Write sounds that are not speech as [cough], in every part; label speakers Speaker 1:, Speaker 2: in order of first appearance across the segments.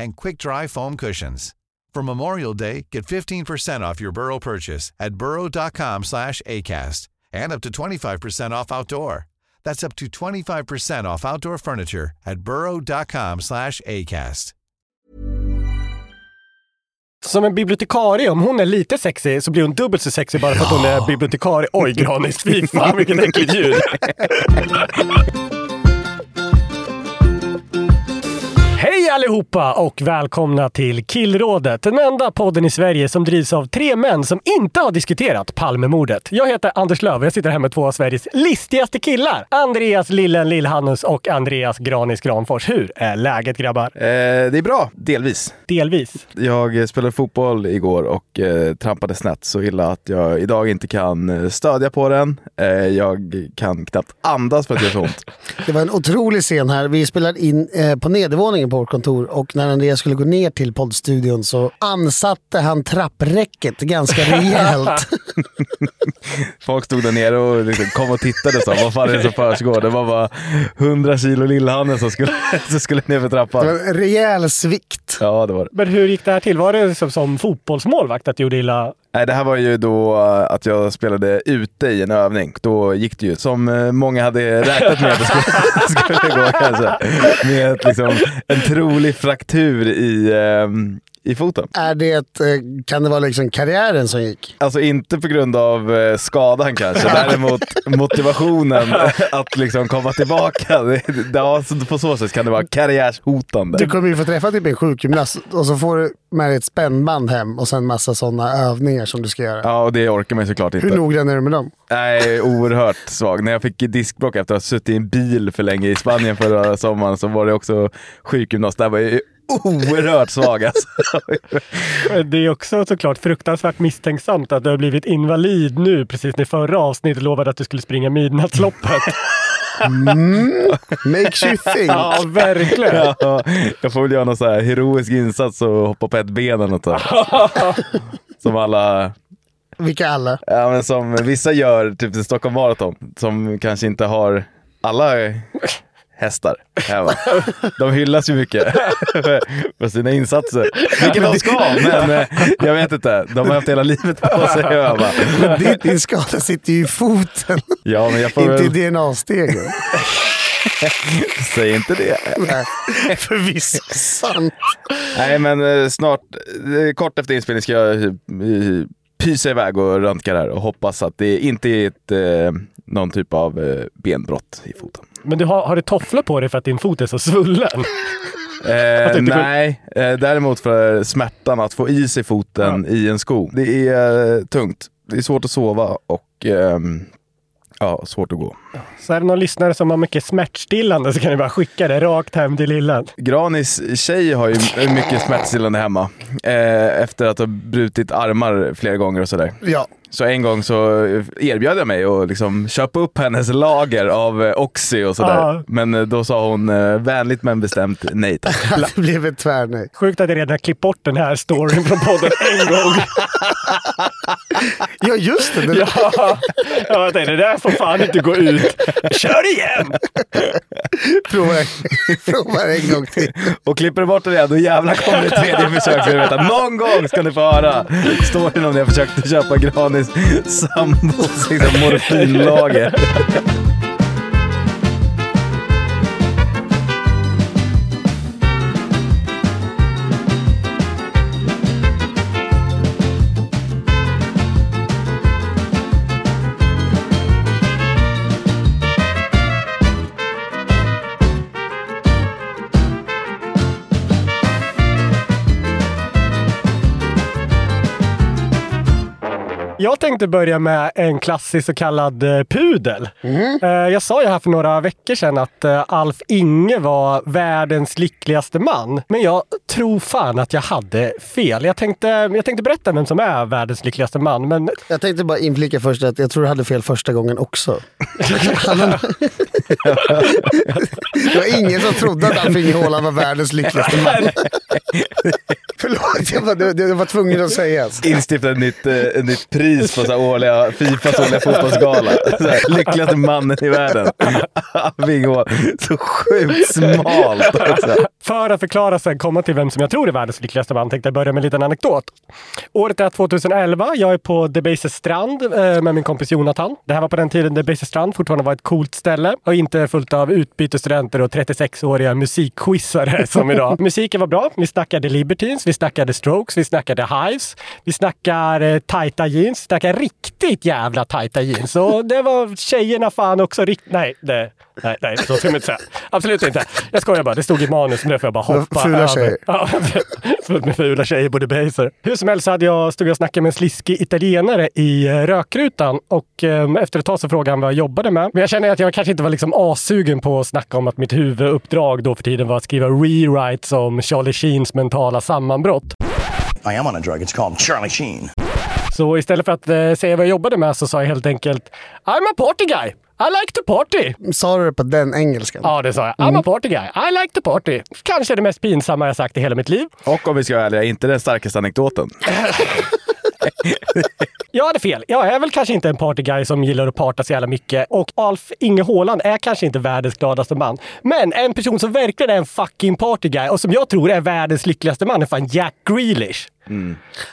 Speaker 1: and quick-dry foam cushions. For Memorial Day, get 15% off your Burrow purchase at burrow.com/acast and up to 25% off outdoor. That's up to 25% off outdoor furniture at burrow.com/acast.
Speaker 2: Som en bibliotekarie, om hon är lite sexig så blir hon dubbelt så sexig bara för att hon är bibliotekarie. Oj, Granis, fy fan vilket äckligt ljud. Hej allihopa och välkomna till Killrådet. Den enda podden i Sverige som drivs av tre män som inte har diskuterat Palmemordet. Jag heter Anders Löf och jag sitter här med två av Sveriges listigaste killar. Andreas Lillen Lillhannus och Andreas Granis Granfors. Hur är läget grabbar?
Speaker 3: Eh, det är bra, delvis.
Speaker 2: Delvis.
Speaker 3: Jag eh, spelade fotboll igår och eh, trampade snett så illa att jag idag inte kan eh, stödja på den. Eh, jag kan knappt andas för att det gör så ont.
Speaker 4: Det var en otrolig scen här. Vi spelade in eh, på nedervåningen på vårt kontor och när Andreas skulle gå ner till poddstudion så ansatte han
Speaker 3: [laughs]
Speaker 4: trappräcket ganska rejält.
Speaker 3: Folk stod där nere och liksom kom och tittade så vad fan är det som försiggår? Det var bara 100 kilo lillhanne som skulle, [laughs] som skulle ner för
Speaker 4: Det
Speaker 3: trappan.
Speaker 4: var en rejäl svikt.
Speaker 3: Ja, det var det.
Speaker 2: Men hur gick det här till? Var det som, som fotbollsmålvakt att du gjorde illa?
Speaker 3: Nej, det här var ju då eh, att jag spelade ute i en övning. Då gick det ju som eh, många hade räknat med att det skulle, [laughs] skulle gå kanske. Med ett, liksom, en trolig fraktur i, ehm, i foten.
Speaker 4: Är det, eh, kan det vara liksom karriären som gick?
Speaker 3: Alltså inte på grund av eh, skadan
Speaker 4: [laughs]
Speaker 3: kanske, däremot motivationen att liksom komma tillbaka. Det- det- Ja, så på så sätt kan det vara
Speaker 4: Du
Speaker 3: karriärshotande.
Speaker 4: kommer ju få träffa typ en sjukgymnast och så får du med dig ett spännband hem och sen massa sådana övningar som du ska göra.
Speaker 3: Ja, och det orkar man ju såklart inte.
Speaker 4: Hur noggrann är du med dem?
Speaker 3: Nej, oerhört svag. När jag fick diskbråck efter att ha suttit i en bil för länge i Spanien förra sommaren så var det också sjukgymnast. Där var jag ju oerhört svag alltså.
Speaker 2: Det är också såklart fruktansvärt misstänksamt att du har blivit invalid nu precis när förra avsnittet lovade att du skulle springa midnattsloppet.
Speaker 3: [laughs]
Speaker 4: Makes you think.
Speaker 2: ja, verkligen.
Speaker 3: Ja, jag får väl göra någon så här heroisk insats och hoppa på ett ben eller något
Speaker 2: [laughs]
Speaker 3: sånt. Som alla,
Speaker 4: Vilka alla?
Speaker 3: ja, men som vissa gör, typ i Stockholm Marathon, som kanske inte har alla hästar hemma. De hyllas ju mycket [laughs] för, för sina insatser. Vilket de ska, [laughs] men eh, jag vet inte. De har haft hela livet på sig att öva.
Speaker 4: Men din, din skada sitter ju i foten,
Speaker 3: Ja, men jag får väl...
Speaker 4: inte i DNA-stegen.
Speaker 3: Säg inte det.
Speaker 4: Nej, Förvisso sant.
Speaker 3: Nej, men eh, snart, eh, kort efter inspelningen ska jag eh, pysa iväg och röntga det här och hoppas att det inte är ett, eh, någon typ av eh, benbrott i foten.
Speaker 2: Men du har, har du tofflor på dig för att din fot är så svullen?
Speaker 3: Eh,
Speaker 2: tänkte-
Speaker 3: nej, eh, däremot för smärtan att få is i foten i en sko. Det är eh, tungt. Det är svårt att sova och ehm, ja, svårt att gå.
Speaker 2: Så är det någon lyssnare som har mycket smärtstillande så kan du bara skicka det rakt hem till lillen.
Speaker 3: Granis tjej har ju mycket smärtstillande hemma eh, efter att ha brutit armar flera gånger och sådär.
Speaker 4: Ja,
Speaker 3: Så en gång så eh, erbjöd jag mig att liksom köpa upp hennes lager av eh, Oxy och sådär.
Speaker 2: Ja.
Speaker 3: Men eh, då sa hon eh, vänligt men bestämt nej
Speaker 2: [laughs]
Speaker 3: tack.
Speaker 4: det blev ett tvärnej.
Speaker 2: Sjukt att jag redan har klippt bort den här storyn från podden en gång.
Speaker 4: Ja, just det. det
Speaker 2: Ja, jag tänkte, det där får fan inte gå ut. Kör igen!
Speaker 4: Prova, [laughs] prova en gång till.
Speaker 3: Och klipper du bort det igen, då jävlar kommer det tredje försök. Så du vet att någon gång ska ni få höra storyn om när jag försökte köpa Granis sambos liksom, morfinlager.
Speaker 2: Jag tänkte börja med en klassisk så kallad eh, pudel. Eh, Jag sa ju här för några veckor sedan att eh, Alf Inge var världens lyckligaste man. Men jag tror fan att jag hade fel. Jag tänkte, jag tänkte berätta vem som är världens lyckligaste man, men
Speaker 4: Jag tänkte bara inflika först att jag tror du hade fel första gången också. det var ingen som trodde att Alf Inge Haaland var världens lyckligaste man. Förlåt, jag var, det, det var tvungen att sägas.
Speaker 3: Instifta ett nytt, eh, ett nytt pris på så här årliga, Fifas årliga fotbollsgala. Så här, lyckligaste mannen i världen. [laughs] Viggo, så sjukt smalt också.
Speaker 2: För att förklara sen komma till vem som jag tror är världens lyckligaste man tänkte jag börja med en liten anekdot. Året är 2011. Jag är på Debases strand eh, med min kompis Jonathan. Det här var på den tiden Debases strand fortfarande var ett coolt ställe och inte fullt av utbytesstudenter och 36-åriga musikquizare [laughs] som idag. Musiken var bra. Vi snackade Libertines, vi snackade Strokes, vi snackade Hives. Vi snackar eh, tajta jeans, vi snackar riktigt jävla tajta jeans. Och det var tjejerna fan också riktigt... Nej, det, nej, nej, så ska man inte säga. Absolut inte. Jag skojar bara. Det stod i manus, men det får jag bara hoppa
Speaker 4: Fula
Speaker 2: över.
Speaker 4: tjejer.
Speaker 2: Ja, [laughs] fullt med fula tjejer på Debaser. Hur som helst så hade jag, stod jag och snackade med en sliskig italienare i eh, rökrutan och eh, efter ett tag så frågade han vad jag jobbade med. Men jag känner att jag kanske inte var liksom assugen på att snacka om att mitt huvuduppdrag då för tiden var att skriva rewrites om Charlie Sheens mentala sammanbrott.
Speaker 5: I am on a drug. It's called Charlie Sheen.
Speaker 2: Så istället för att eh, säga vad jag jobbade med så sa jag helt enkelt I'm a party guy. I like to party.
Speaker 4: Sa du det på den engelskan?
Speaker 2: Ja, det sa jag. I'm a party guy. I like to party. Kanske det mest pinsamma jag sagt i hela mitt liv.
Speaker 3: Och om vi ska vara ärliga, inte den starkaste anekdoten.
Speaker 2: Jag hade fel. Jag är väl kanske inte en partyguy som gillar att parta så jävla mycket och Alf Inge Haaland är kanske inte världens gladaste man. Men en person som verkligen är en fucking partyguy och som jag tror är världens lyckligaste man är fan Jack Grealish.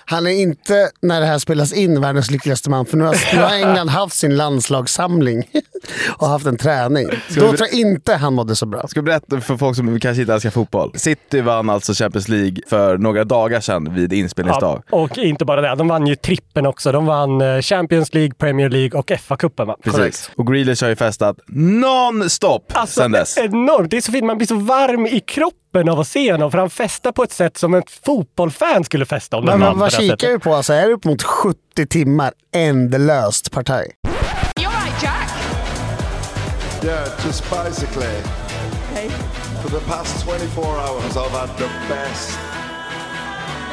Speaker 4: Han är inte, när det här spelas in, världens lyckligaste man. För nu har, nu har England haft sin landslagssamling [laughs] och haft en träning. Då tror jag inte han mådde så bra.
Speaker 3: Jag ska berätta för folk som kanske inte älskar fotboll. City vann alltså Champions League för några dagar sedan vid inspelningsdag.
Speaker 2: Och inte bara det, de vann ju trippen också. De vann eh, Champions League, Premier League och FA-cupen. va?
Speaker 3: Precis. Och Grealish har ju festat non-stop
Speaker 2: Alltså,
Speaker 3: sedan dess.
Speaker 2: Enormt! Det är så fint. Man blir så varm i kroppen av att se honom. För han festar på ett sätt som en fotbollsfan skulle festa om
Speaker 4: Men
Speaker 2: den vann
Speaker 4: vad,
Speaker 2: på det
Speaker 4: vad
Speaker 2: här
Speaker 4: kikar
Speaker 2: sättet.
Speaker 4: vi på? Alltså, är det upp mot 70 timmar ändlöst partaj?
Speaker 6: You're right, Jack.
Speaker 7: Yeah, just basically. For the past 24 hours, I've had the best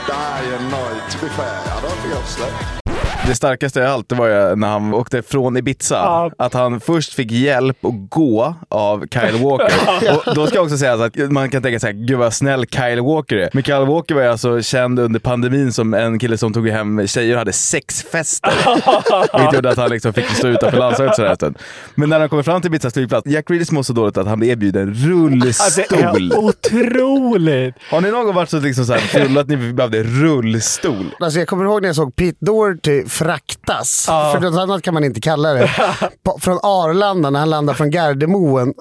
Speaker 7: day and night. To be fair, I don't think I've slept.
Speaker 3: Det starkaste i allt det var ju när han åkte från Ibiza.
Speaker 2: Ja.
Speaker 3: Att han först fick hjälp att gå av Kyle Walker. Och då ska jag också säga att man kan tänka så här, gud vad snäll Kyle Walker är. Men Kyle Walker var ju alltså känd under pandemin som en kille som tog hem tjejer och hade sexfester. Vilket gjorde att han liksom fick stå utanför landslaget sådär efter. Men när han kommer fram till Ibiza flygplats, Jack Reedus mår så dåligt att han blir erbjuden
Speaker 2: Alltså, det
Speaker 3: rullstol.
Speaker 2: är otroligt!
Speaker 3: Har ni någon gång varit så liksom så här fulla att ni behövde rullstol?
Speaker 4: Alltså jag kommer ihåg när jag såg Pete Doherty fraktas, för något annat kan man inte
Speaker 2: [laughs]
Speaker 4: kalla det, på, från Arlanda när han landade från Gardermoen.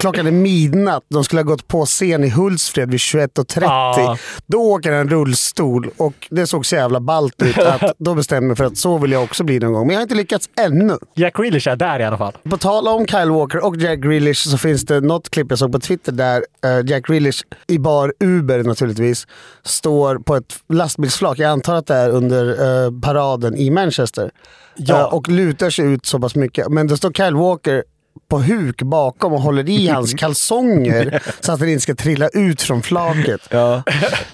Speaker 4: Klockan är midnatt, de skulle ha gått på scen i Hultsfred vid 21.30.
Speaker 2: Ja.
Speaker 4: Då åker en rullstol och det såg så jävla
Speaker 2: [laughs]
Speaker 4: ballt ut att då bestämde jag mig för att så vill jag också bli någon gång. Men jag har inte lyckats ännu.
Speaker 2: Jack Grealish är där i alla fall.
Speaker 4: På tal om Kyle Walker och Jack Grealish så finns det något klipp jag såg på Twitter där eh, Jack Grealish i bar Uber naturligtvis står på ett lastbilsflak, jag antar att det är under eh, paraden i Manchester,
Speaker 2: Ja.
Speaker 4: Eh, och lutar sig ut så pass mycket. Men då står Kyle Walker på huk bakom och håller i hans kalsonger så att den inte ska trilla ut från flaket.
Speaker 3: Ja.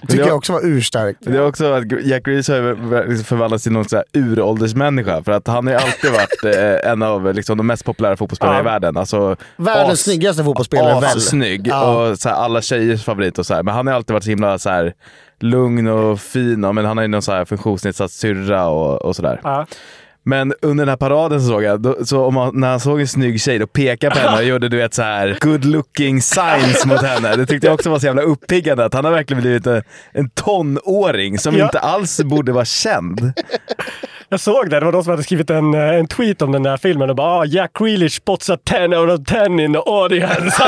Speaker 4: Tycker jag också var urstarkt.
Speaker 3: Det är också att Jack Reeves har ju liksom förvandlats till någon sån här uråldersmänniska. För att han har ju alltid varit [laughs] eh, en av liksom, de mest populära fotbollsspelarna i världen. Alltså,
Speaker 4: Världens snyggaste fotbollsspelare väl?
Speaker 3: Snygg
Speaker 4: Ja.
Speaker 3: och så här, alla tjejers favorit och så här. Men han har alltid varit så himla så här, lugn och fin. Och, men han har ju någon så här funktionsnedsatt syrra och, och sådär.
Speaker 2: Ja.
Speaker 3: Men under den här paraden så såg jag, då, så om han, när han såg en snygg tjej, då pekade han på henne och gjorde du vet så här good looking signs mot henne. Det tyckte jag också var så jävla uppiggande, att han har verkligen blivit en, en tonåring som
Speaker 2: Ja.
Speaker 3: inte alls borde vara [laughs] känd.
Speaker 2: Jag såg det. Det var någon som hade skrivit en, eh, en tweet om den där filmen och bara ah, “Jack Grealish spots a 10 out of 10 in the audience”.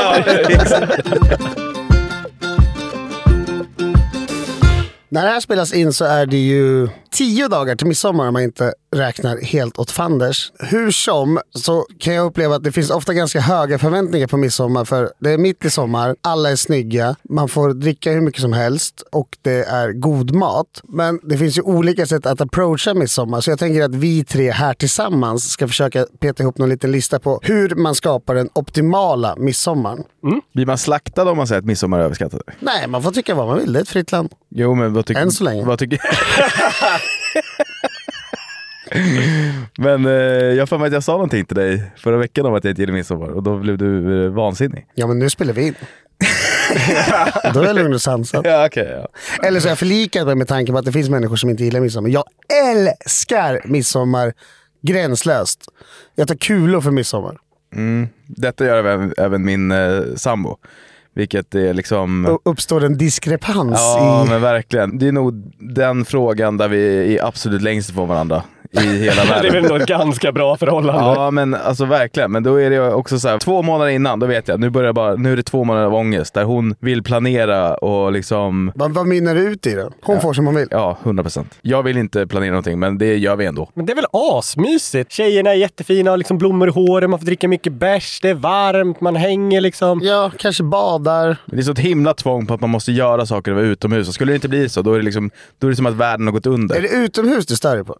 Speaker 4: När det här spelas in så är det ju tio dagar till midsommar om jag inte räknar helt åt fanders. Hur som så kan jag uppleva att det finns ofta ganska höga förväntningar på midsommar för det är mitt i sommar, alla är snygga, man får dricka hur mycket som helst och det är god mat. Men det finns ju olika sätt att approacha midsommar så jag tänker att vi tre här tillsammans ska försöka peta ihop någon liten lista på hur man skapar den optimala midsommaren.
Speaker 3: [laughs] Blir man slaktad om man säger att midsommar är överskattat?
Speaker 4: Nej, man får tycka vad man vill, det är ett fritt land.
Speaker 3: Jo, men vad tycker
Speaker 4: Än så länge.
Speaker 3: Vad tycker... [laughs] men eh, jag har för mig att jag sa någonting till dig förra veckan om att jag inte gillar midsommar och då blev du eh, vansinnig.
Speaker 4: Ja, men nu spelar
Speaker 3: [laughs]
Speaker 4: vi in. Då är jag lugn och sansad.
Speaker 3: Ja, okej. ja.
Speaker 4: Eller så har jag förlikat mig med tanken på att det finns människor som inte gillar midsommar. Jag älskar midsommar gränslöst. Jag tar kulor för midsommar.
Speaker 3: Detta gör även, även min eh, sambo. Vilket är liksom...
Speaker 4: Då uppstår en diskrepans
Speaker 3: Ja,
Speaker 4: i...
Speaker 3: men verkligen. Det är nog den frågan där vi är absolut längst ifrån varandra i
Speaker 2: [laughs]
Speaker 3: hela
Speaker 2: [laughs] Det är väl
Speaker 3: världen.
Speaker 2: ändå ett ganska bra förhållande.
Speaker 3: Ja, men alltså verkligen. Men då är det ju också så här, två månader innan, då vet jag. Nu börjar jag bara, nu är det två månader av ångest där hon vill planera och liksom,
Speaker 4: Vad, vad mynnar det ut i då? Hon får som hon vill.
Speaker 3: ja, 100 procent. Jag vill inte planera någonting, men det gör vi ändå.
Speaker 2: Men det är väl asmysigt? Tjejerna är jättefina, har liksom blommor i håret, man får dricka mycket bärs, det är varmt, man hänger liksom.
Speaker 4: Ja, kanske badar.
Speaker 3: Men det är så ett himla tvång på att man måste göra saker och vara utomhus. Och skulle det inte bli så, då är det liksom, då är det som att världen har gått under.
Speaker 4: Är det utomhus du stör dig på?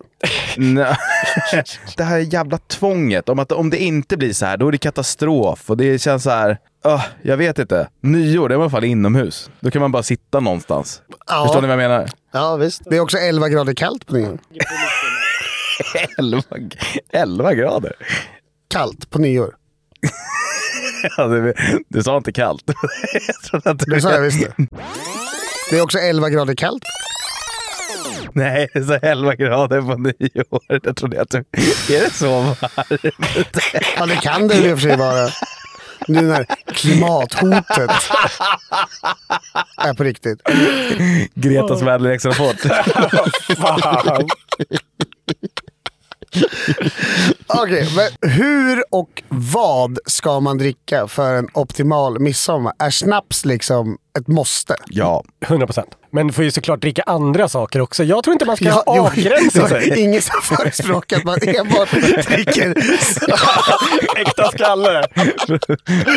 Speaker 3: Nej. [laughs] det här jävla tvånget om att om det inte blir så här, då är det katastrof. Och det känns så här, öh, jag vet inte. Nyår, det är i alla fall inomhus. Då kan man bara sitta någonstans.
Speaker 4: Ja.
Speaker 3: Förstår ni vad jag menar?
Speaker 4: Ja, visst. Det är också 11 grader kallt på nyår.
Speaker 3: 11, 11 grader.
Speaker 4: Kallt på nyår.
Speaker 3: Ja, du, du sa inte kallt. [laughs] jag trodde att
Speaker 4: Det sa jag visst
Speaker 3: [laughs]
Speaker 4: det. Det är också 11 grader kallt.
Speaker 3: Nej, så 11 grader på nyår. Jag trodde att du... Är det så varmt?
Speaker 4: Ja, det kan det ju i och för sig vara. Nu när klimathotet är på riktigt.
Speaker 3: Gretas
Speaker 4: [laughs]
Speaker 3: väderleksrapport.
Speaker 2: Fan.
Speaker 4: Okej, men hur och vad ska man dricka för en optimal midsommar? Är snaps liksom ett måste?
Speaker 3: ja,
Speaker 2: 100%. Men får ju såklart dricka andra saker också. Jag tror inte man ska
Speaker 4: jo, det
Speaker 2: avgränsa
Speaker 4: var
Speaker 2: sig.
Speaker 4: Ingen som förespråkar att man enbart dricker
Speaker 2: [laughs] Äkta skalle.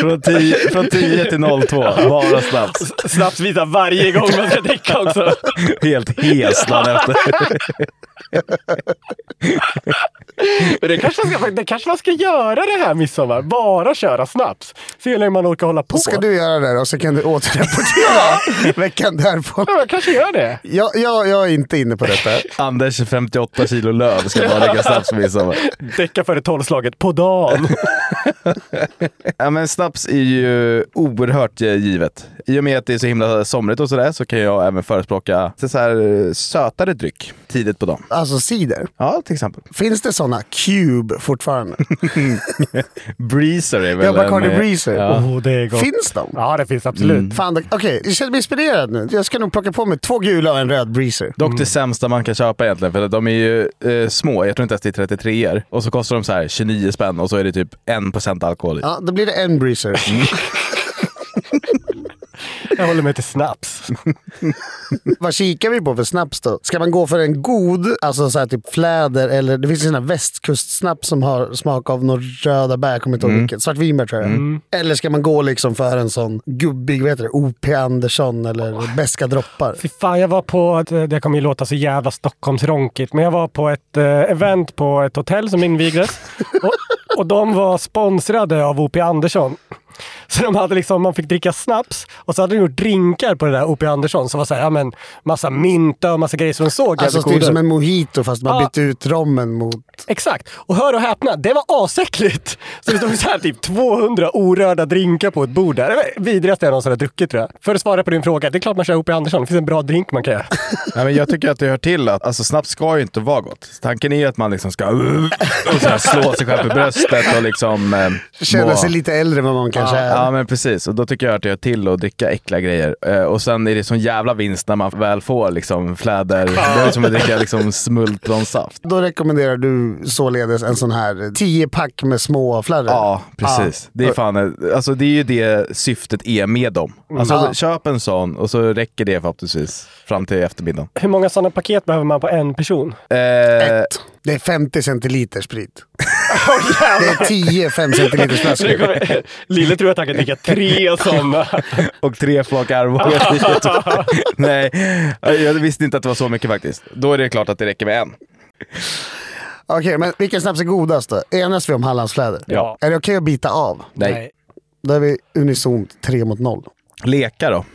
Speaker 3: från 10, från 10 till 02. Bara snabbt.
Speaker 2: Snabbt visa varje gång man ska dricka också.
Speaker 3: [laughs] Helt heslad efter.
Speaker 2: Men det kanske, man ska, det kanske man ska göra det här midsommar. Bara köra snaps. Se hur länge man orkar hålla på.
Speaker 4: Ska du göra det här och så kan
Speaker 2: [laughs]
Speaker 4: du återrapportera veckan därpå.
Speaker 2: Ja, jag kanske gör det.
Speaker 4: Jag, jag, jag är inte inne på detta.
Speaker 3: Anders 58 kilo löv ska bara dricka snaps på midsommar.
Speaker 2: Däcka före tolvslaget på dagen.
Speaker 3: Ja, men snaps är ju oerhört eh, givet. I och med att det är så himla somrigt och sådär så kan jag även förespråka så här, eh, sötare dryck tidigt på dagen.
Speaker 4: Alltså cider.
Speaker 3: Ja, till exempel.
Speaker 4: Finns det sådana cube fortfarande?
Speaker 3: Breezer är väl
Speaker 4: Jag bara
Speaker 3: en,
Speaker 4: Cardi
Speaker 3: eh,
Speaker 4: Breezer.
Speaker 3: Ja.
Speaker 2: Åh, Oh, det är gott.
Speaker 4: Finns de?
Speaker 2: Ja, det finns absolut.
Speaker 4: Fan, det- okej. Jag känner mig inspirerad nu. Jag ska nog plocka på mig två gula och en röd breezer.
Speaker 3: Dock det sämsta man kan köpa egentligen, för de är ju eh, små. Jag tror inte ens det är 33 er Och så kostar de så här 29 spänn och så är det typ 1% alkohol i.
Speaker 4: Ja, då blir det en breezer.
Speaker 2: Jag håller mig till snaps.
Speaker 4: Vad kikar vi på för snaps då? Ska man gå för en god, alltså så här typ fläder eller det finns ju sån här västkustsnaps som har smak av några röda bär, jag kommer inte ihåg vilket. Svartvinbär tror jag. Eller ska man gå liksom för en sån gubbig, vad heter det, O.P. Andersson eller Beska droppar?
Speaker 2: Fy fan, jag var på, ett- eh, det kommer ju låta så jävla Stockholmsronkigt, men jag var på ett eh, event på ett hotell som
Speaker 4: [laughs]
Speaker 2: invigdes. Och, och de var sponsrade av O.P. Andersson. Så de hade liksom, man fick dricka snaps och så hade de gjort drinkar på det där O.P. Andersson som var såhär, ja men massa mynta och massa grejer som de såg
Speaker 4: Alltså
Speaker 2: jävligt
Speaker 4: typ
Speaker 2: goda
Speaker 4: som
Speaker 2: ut.
Speaker 4: en mojito fast man
Speaker 2: Ja.
Speaker 4: bytte ut rommen mot...
Speaker 2: Exakt! Och hör och häpna, det var asäckligt! Så det stod så här typ 200 orörda drinkar på ett bord där. Det var det vidrigaste jag någonsin har druckit tror jag. För att svara på din fråga, det är klart man kör O.P. Andersson, det finns en bra drink man kan göra.
Speaker 3: Nej, men jag tycker att det hör till att alltså, snaps ska ju inte vara gott. Tanken är ju att man liksom ska och så här, slå sig själv i bröstet och liksom... Eh,
Speaker 4: Känna
Speaker 3: må-
Speaker 4: sig lite äldre än vad man kanske.
Speaker 3: Ja men precis, och då tycker jag att det hör till att dricka äckliga grejer. Eh, och sen är det sån jävla vinst när man väl får liksom fläder. Det är som att dricka liksom smultronsaft.
Speaker 4: Då rekommenderar du således en sån här 10-pack med små fläder.
Speaker 3: Ja, precis. Det, är fan, alltså, det är ju det syftet är med dem. Alltså,
Speaker 4: Mm. Ja.
Speaker 3: Köp en sån och så räcker det förhoppningsvis fram till eftermiddagen.
Speaker 2: Hur många sådana paket behöver man på en [laughs] person?
Speaker 3: Eh,
Speaker 4: Ett. Det är 50 centiliter sprit. det är 10 5 centiliters
Speaker 2: Nu
Speaker 4: flaskor.
Speaker 2: kommer- Lille tror jag tänker dricka [laughs] tre sådana.
Speaker 3: och tre flak armbågar. Nej, jag visste inte att det var så mycket faktiskt. Då är det klart att det räcker med en.
Speaker 4: Okej, men vilken snaps är godast då? Enas vi om Hallandsfläder?
Speaker 3: Ja.
Speaker 4: Är det okej att bita av?
Speaker 3: Nej.
Speaker 4: Då är vi unisont 3 mot 0.
Speaker 3: Leka då?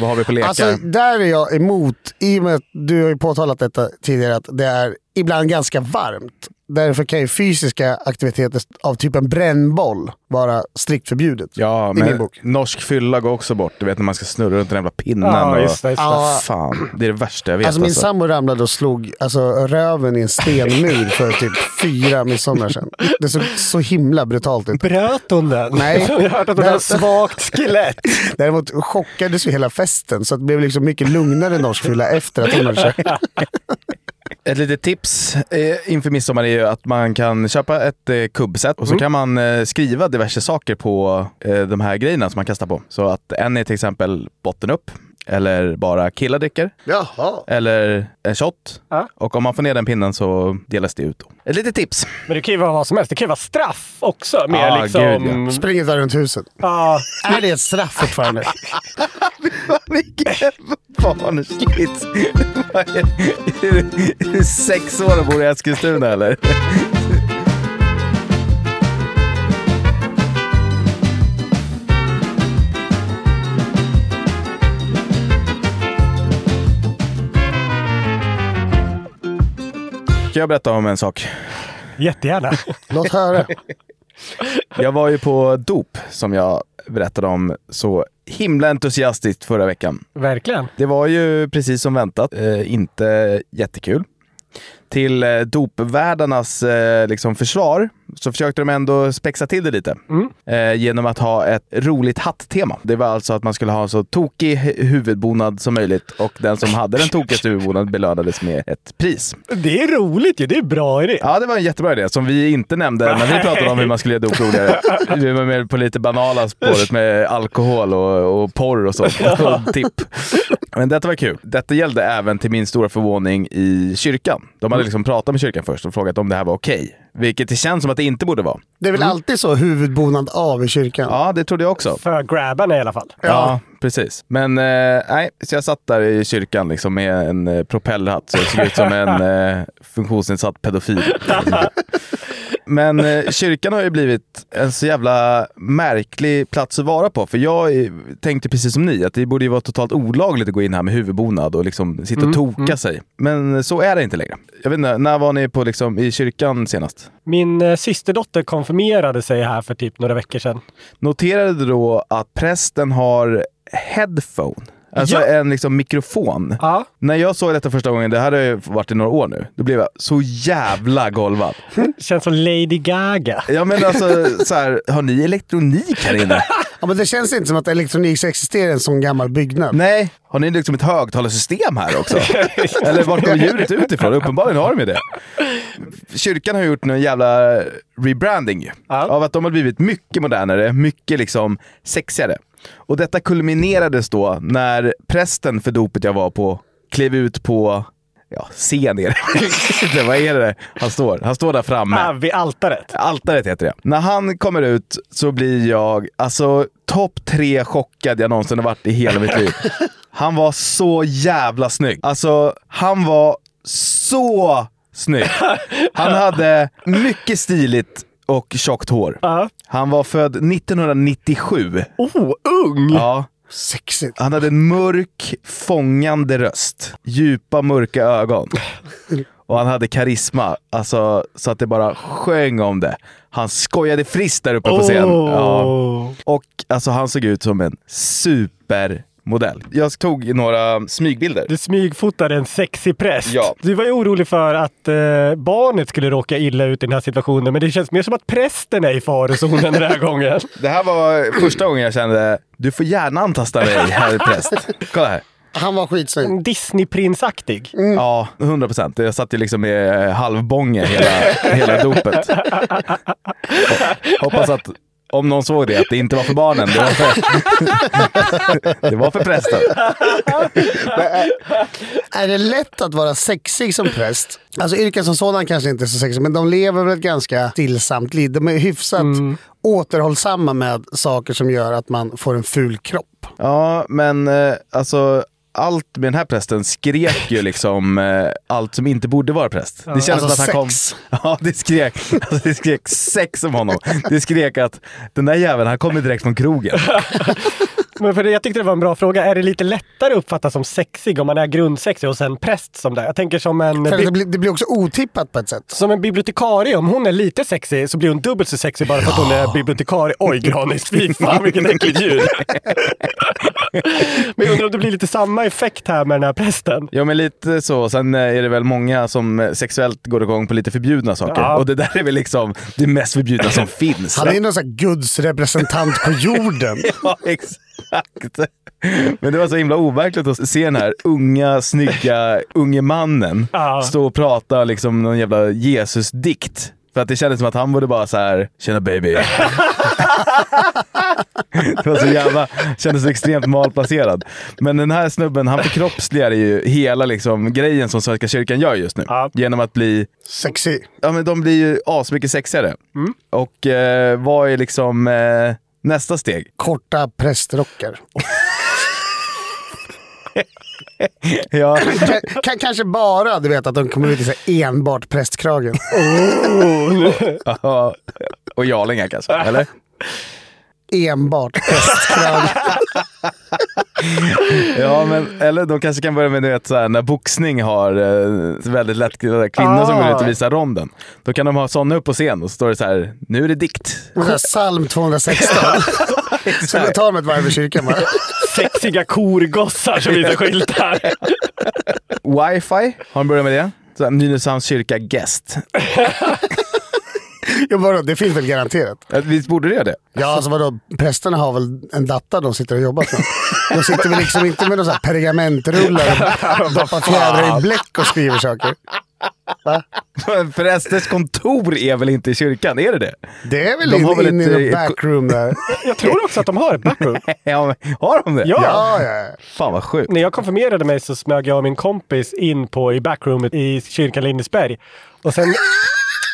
Speaker 3: Vad har vi på leka?
Speaker 4: Alltså, där är jag emot, i och med att du har ju påtalat detta tidigare, att det är ibland ganska varmt. Därför kan ju fysiska aktiviteter av typen brännboll vara strikt förbjudet.
Speaker 3: Ja,
Speaker 4: I
Speaker 3: men
Speaker 4: min bok.
Speaker 3: norsk fylla går också bort. Du vet när man ska snurra runt den jävla pinnen.
Speaker 2: Ja,
Speaker 3: och...
Speaker 2: just det. Just det.
Speaker 4: Ja.
Speaker 3: Fan, det är det värsta jag vet.
Speaker 4: Alltså min sambo ramlade och slog alltså, röven i en stenmur för typ fyra midsommar sedan. Det såg så himla brutalt ut.
Speaker 2: Bröt hon den?
Speaker 4: Nej.
Speaker 2: Jag har hört att hon
Speaker 4: Nej.
Speaker 2: har ett svagt skelett.
Speaker 4: Däremot chockades ju hela festen så att det blev liksom mycket lugnare norsk fylla efter att hon hade kört.
Speaker 3: Ett litet tips eh, inför midsommar är ju att man kan köpa ett eh, kubbset och så kan man eh, skriva diverse saker på eh, de här grejerna som man kastar på. Så att en är till exempel botten upp, eller bara killar dricker,
Speaker 4: Jaha.
Speaker 3: eller en shot.
Speaker 2: Ja.
Speaker 3: Och om man får ner den pinnen så delas det ut. Då. Ett litet tips!
Speaker 2: Men det kan ju vara vad som helst. Det kan ju vara straff också. Mer
Speaker 3: Ah,
Speaker 2: liksom...
Speaker 3: gud,
Speaker 4: Spring inte runt huset.
Speaker 2: ja.
Speaker 4: Är det ett straff fortfarande?
Speaker 3: Vilket barnskit! Är du sex år och bor i Eskilstuna eller? Ska jag berätta om en sak?
Speaker 2: Jättegärna.
Speaker 4: Låt höra.
Speaker 3: Jag var ju på dop som jag berättade om så himla entusiastiskt förra veckan.
Speaker 2: Verkligen.
Speaker 3: Det var ju precis som väntat eh, inte jättekul. Till eh, dopvärdarnas eh, liksom försvar så försökte de ändå spexa till det lite eh, genom att ha ett roligt hatttema. Det var alltså att man skulle ha en så tokig hu- huvudbonad som möjligt och den som hade den tokigaste huvudbonaden belönades med ett pris.
Speaker 2: Det är roligt ju. Det är bra idé.
Speaker 3: Ja, det var en jättebra idé som vi inte nämnde när vi pratade om hur man skulle göra dop roligare. Vi var mer på lite banala spåret med alkohol och, och porr och sånt. Och tipp. Men detta var kul. Detta gällde även till min stora förvåning i kyrkan. De hade liksom pratat med kyrkan först och frågat om det här var okej. Vilket det känns som att det inte borde vara.
Speaker 4: Det är väl alltid så huvudbonad av i kyrkan?
Speaker 3: Ja, det trodde jag också.
Speaker 2: För grabbarna i alla fall.
Speaker 3: Ja, precis. Men eh, nej, så jag satt där i kyrkan liksom med en eh, propellerhatt så jag såg ut som en eh, funktionsnedsatt
Speaker 2: [laughs]
Speaker 3: pedofil. Men eh, kyrkan har ju blivit en så jävla märklig plats att vara på. För jag eh, tänkte precis som ni, att det borde ju vara totalt olagligt att gå in här med huvudbonad och liksom sitta och
Speaker 2: Mm,
Speaker 3: toka sig. Men så är det inte längre. Jag vet inte, när var ni på, liksom, i kyrkan senast?
Speaker 2: Min eh, systerdotter konfirmerade sig här för typ några veckor sedan.
Speaker 3: Noterade du då att prästen har headphone? Alltså
Speaker 2: Ja.
Speaker 3: en liksom mikrofon.
Speaker 2: Ja.
Speaker 3: När jag såg detta första gången, det här har ju varit i några år nu, då blev jag så jävla golvad.
Speaker 2: Känns som Lady Gaga.
Speaker 3: Ja men alltså, så här, har ni elektronik här inne?
Speaker 4: Ja, men det känns inte som att elektronik ska existera i en sån gammal byggnad.
Speaker 3: Nej. Har ni liksom ett högtalarsystem här också? Eller vart kom ljudet utifrån? Uppenbarligen har de ju det. Kyrkan har gjort någon jävla rebranding ju.
Speaker 2: Ja.
Speaker 3: Av att de har blivit mycket modernare, mycket liksom sexigare. Och detta kulminerades då när prästen för dopet jag var på klev ut på Ja, scen är det. [laughs] Vad är det han står? Han står där framme.
Speaker 2: Ah, vid altaret.
Speaker 3: Altaret heter det. När han kommer ut så blir jag alltså topp tre chockad jag någonsin har varit i hela mitt
Speaker 2: [laughs]
Speaker 3: liv. Han var så jävla snygg. Alltså, han var så snygg.
Speaker 2: [laughs]
Speaker 3: Han hade mycket stiligt och tjockt hår.
Speaker 2: Ja.
Speaker 3: Han var född 1997.
Speaker 2: Oh, ung!
Speaker 3: Ja.
Speaker 4: Sexigt.
Speaker 3: Han hade en mörk, fångande röst. Djupa, mörka ögon. Och han hade karisma, alltså, så att det bara sjöng om det. Han skojade friskt där uppe på scen. Ja.
Speaker 2: Åh.
Speaker 3: Och alltså, han såg ut som en super modell. Jag tog några smygbilder.
Speaker 2: Du smygfotade en sexig präst.
Speaker 3: Ja.
Speaker 2: Du var ju orolig för att eh, barnet skulle råka illa ut i den här situationen, men det känns mer som att prästen är i farozonen den här gången.
Speaker 3: Det här var första gången jag kände, du får gärna antasta mig, herr präst. Kolla här.
Speaker 4: Han var skitsnygg.
Speaker 2: Disneyprinsaktig.
Speaker 3: Ja, 100 procent. Jag satt ju liksom med eh, halvbånge hela, [laughs] hela dopet. Och Hoppas att om någon såg det, att det inte var för barnen. Det var för, det var för [laughs] prästen.
Speaker 4: Är det lätt att vara sexig som präst? Alltså yrken som sådan kanske inte är så sexig, men de lever väl ett ganska stillsamt liv. De är hyfsat återhållsamma med saker som gör att man får en ful kropp.
Speaker 3: Ja, men eh, alltså allt med den här prästen skrek ju liksom eh, allt som inte borde vara präst. Det kändes
Speaker 4: Alltså
Speaker 3: som att han
Speaker 4: sex.
Speaker 3: kom... [laughs] Ja, det skrek, alltså, det skrek sex om honom. Det skrek att den där jäveln, han kommer direkt från krogen.
Speaker 2: Men för det, jag tyckte det var en bra fråga. Är det lite lättare att uppfattas som sexig om man är grundsexig och sen präst som det? Jag tänker som en...
Speaker 4: För
Speaker 2: bi-
Speaker 4: det, blir, det blir också otippat på ett sätt.
Speaker 2: Som en bibliotekarie, om hon är lite sexig så blir hon dubbelt så sexig bara för att hon är bibliotekarie. Oj, Granis, fy fan
Speaker 3: [laughs]
Speaker 2: vilket äckligt ljud. Men jag undrar om det blir lite samma effekt här med den här prästen.
Speaker 3: Ja men lite så. Sen eh, är det väl många som eh, sexuellt går igång på lite förbjudna saker.
Speaker 2: Ja.
Speaker 3: Och det där är väl liksom det mest förbjudna
Speaker 4: [laughs]
Speaker 3: som finns.
Speaker 4: Han är någon sån här Guds representant på [laughs] jorden.
Speaker 3: Ja, [laughs] exakt. Men det var så himla overkligt att se den här unga, snygga, unge mannen
Speaker 2: Ja.
Speaker 3: stå och prata liksom någon jävla Jesus-dikt. För att det kändes som att han borde bara så här “Tjena baby”. [laughs] det var så jävla, kändes så extremt malplacerad. Men den här snubben, han förkroppsligar ju hela liksom, grejen som Svenska kyrkan gör just nu.
Speaker 2: Ja.
Speaker 3: Genom att bli
Speaker 4: Sexig.
Speaker 3: ja, men de blir ju asmycket sexigare.
Speaker 2: Mm.
Speaker 3: Och eh, vad är liksom eh, nästa steg?
Speaker 4: Korta prästrockar.
Speaker 3: Ja,
Speaker 4: Kan, kan, kanske bara du vet att de kommer ut i så här enbart prästkragen.
Speaker 3: ja. och jarlingar kanske, eller?
Speaker 4: Enbart prästkrage.
Speaker 3: Ja, men, eller de kanske kan börja med du vet, så här, när boxning har eh, väldigt lättklädda kvinnor som går ut
Speaker 2: Ah.
Speaker 3: och visar ronden. Då kan de ha sådana upp på scen och så står det så här, nu är det dikt.
Speaker 4: Så här Psalm [laughs] 216. Så du tar dem ett varv i kyrkan bara.
Speaker 2: Sexiga korgossar som visar skyltar.
Speaker 3: Wifi, har de börjat med det? Så här, Nynäshamns kyrka guest.
Speaker 4: Jag bara, det finns väl garanterat.
Speaker 3: Eh, Visst borde det göra [laughs] det?
Speaker 4: Ja, alltså vadå? Prästerna har väl en datta de sitter och jobbar på. De sitter väl liksom inte med någon sån här pergamentrullar
Speaker 3: [laughs]
Speaker 4: och doppar fjädrar i bläck och skriver saker.
Speaker 3: Men Prästers kontor är väl inte i kyrkan? Är det [laughs] det?
Speaker 4: Det är väl
Speaker 3: De
Speaker 4: in,
Speaker 3: har väl
Speaker 4: in i
Speaker 3: ett,
Speaker 4: någon
Speaker 3: eh,
Speaker 4: backroom där.
Speaker 2: Jag tror också att de har ett [laughs] backroom.
Speaker 3: Ja, men, har de det?
Speaker 2: Ja.
Speaker 4: Ja, ja.
Speaker 3: Fan vad sjukt.
Speaker 2: När jag konfirmerade mig så smög jag och min kompis in på i backroomet i kyrkan Lindesberg. Och [laughs] sen...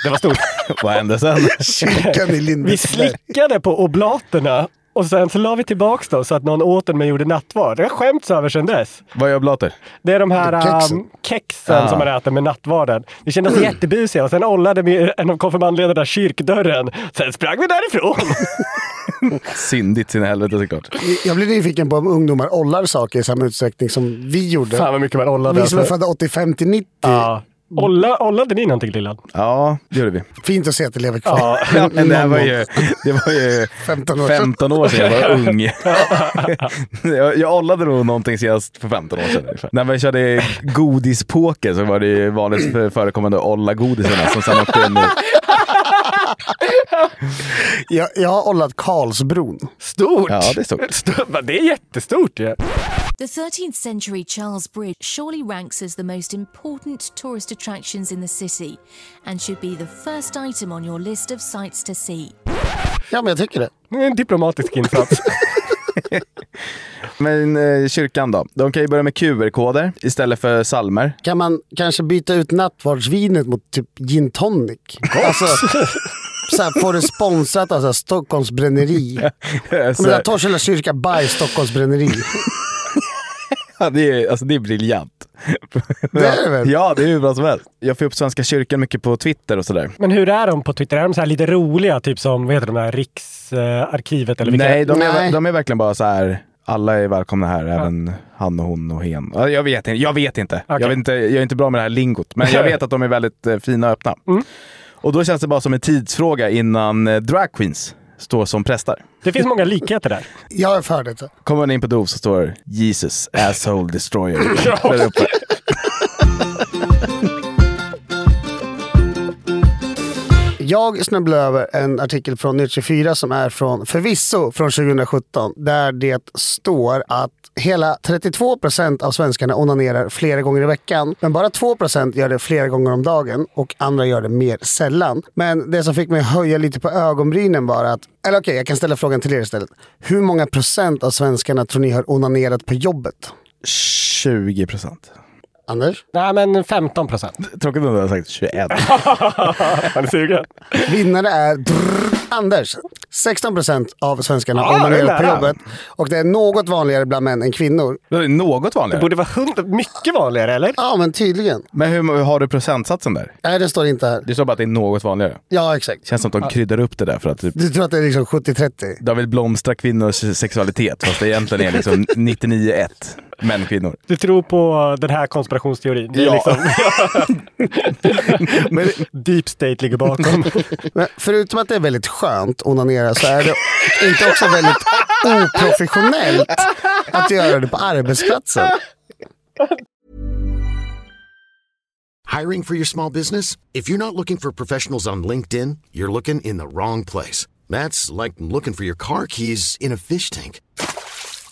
Speaker 2: Det var stort.
Speaker 3: [laughs] Vad hände sen?
Speaker 4: Kyrkan i
Speaker 2: Vi
Speaker 4: Lindesberg.
Speaker 2: slickade på oblaterna och sen så la vi tillbaka dem så att någon åt dem men gjorde nattvard. Det har skämts över sedan dess.
Speaker 3: Vad gör blater?
Speaker 2: Det är de här
Speaker 4: Kexen.
Speaker 2: ehm, kexen Mm.
Speaker 3: Ah.
Speaker 2: som man äter med nattvarden. Vi kändes jättebusiga och sen ollade vi en av konfirmandledarna kyrkdörren. Sen sprang vi därifrån.
Speaker 3: Syndigt sin helvete såklart.
Speaker 4: Jag blir nyfiken på om ungdomar ollar saker i samma utsträckning som vi
Speaker 2: [laughs]
Speaker 4: gjorde.
Speaker 2: Fan vad mycket man ollade.
Speaker 4: vi som är
Speaker 2: alltså.
Speaker 4: födda 85 till 90.
Speaker 2: Ja. Olla, ollade ni någonting Lillan?
Speaker 3: Ja, det gjorde vi.
Speaker 4: Fint att se att det lever kvar.
Speaker 3: Ja, [laughs] men det här var ju, det var
Speaker 2: [laughs]
Speaker 3: ju
Speaker 4: 15 år sedan.
Speaker 3: 15 år sedan jag [laughs] var ung. jag, jag ollade nog någonting senast för 15 år sedan ungefär. När vi körde godispoker så var det ju vanligt för- förekommande att olla godisarna som sen åkte in i...
Speaker 4: Jag, jag har ollat Karlsbron.
Speaker 2: Stort!
Speaker 3: Ja, det är stort.
Speaker 2: det är jättestort ju.
Speaker 8: The 13th century Charles Bridge surely ranks as the most important tourist attractions in the city and should be the first item on your list of sights to see.
Speaker 4: Ja, men jag tycker det.
Speaker 2: Det är En diplomatisk insats.
Speaker 3: Men eh, kyrkan då? De kan ju börja med QR-koder istället för salmer.
Speaker 4: Kan man kanske byta ut nattvardsvinet mot typ gin tonic? Alltså, så här, får det sponsrat av så här, Stockholms bränneri.
Speaker 3: Så-
Speaker 4: Men där Torshälla kyrka by Stockholms bränneri.
Speaker 3: Ja, det, är, alltså, det är briljant.
Speaker 4: Det är det väl?
Speaker 3: Ja, det är hur bra som helst. Jag får upp Svenska kyrkan mycket på Twitter och sådär.
Speaker 2: [laughs] Men hur är de på Twitter? Är de så här lite roliga? Typ som, vad heter de där, Riksarkivet eller vilka?
Speaker 3: Nej, de är,
Speaker 4: Nej.
Speaker 3: de är verkligen bara så här. Alla är välkomna här, även han och hon och hen. Ja, Jag vet, inte- jag vet inte. Jag, vet inte. jag är inte bra med det här lingot, men
Speaker 2: [laughs]
Speaker 3: jag vet att de
Speaker 2: Mm.
Speaker 3: är väldigt eh, fina och öppna. Och då känns det bara som en tidsfråga innan eh, drag queens står som prästar.
Speaker 2: Det finns många likheter där.
Speaker 4: Jag är för det.
Speaker 3: Kommer man in på Dov så står Jesus asshole
Speaker 2: [laughs]
Speaker 3: destroyer där uppe.
Speaker 4: Jag snubblade över en artikel från Nytt 24 som är från, förvisso från 2017, där det står att hela 32% av svenskarna onanerar flera gånger i veckan, men bara 2% gör det flera gånger om dagen och andra gör det mer sällan. Men det som fick mig höja lite på ögonbrynen var att, eller okej, jag kan ställa frågan till er istället. Hur många procent av svenskarna tror ni har onanerat på jobbet?
Speaker 3: 20 procent.
Speaker 4: Anders?
Speaker 2: Nej, men 15 [laughs] procent.
Speaker 3: Tråkigt om du hade sagt
Speaker 2: [laughs]
Speaker 3: 21.
Speaker 2: Är ni sugna?
Speaker 4: Vinnare är drrr, Anders. 16% av svenskarna
Speaker 2: Ah, det är
Speaker 4: onanerar på
Speaker 2: nära.
Speaker 4: jobbet och det är något vanligare bland män än kvinnor.
Speaker 3: Det är något
Speaker 2: Det
Speaker 3: vanligare.
Speaker 2: borde vara hundra, mycket vanligare, eller?
Speaker 4: Ja, men tydligen.
Speaker 3: Men hur har du procentsatsen där?
Speaker 4: Nej, det står inte här.
Speaker 3: Det står bara att det är något vanligare.
Speaker 4: Ja, exakt.
Speaker 3: Känns som att de kryddar upp det där för att typ,
Speaker 4: Du tror att det är liksom 70-30?
Speaker 3: de vill blomstra kvinnors sexualitet fast det egentligen är liksom 99-1 män kvinnor.
Speaker 2: Du tror på den här konspirationsteorin? Det är
Speaker 3: Ja. liksom-
Speaker 2: liksom, Deep state ligger bakom.
Speaker 4: Men förutom att det är väldigt skönt att onanera så är det inte också väldigt oprofessionellt att göra det på arbetsplatsen.
Speaker 9: Hiring for your small business? If you're not looking for professionals on LinkedIn, you're looking in the wrong place. That's like looking for your car keys in a fish tank.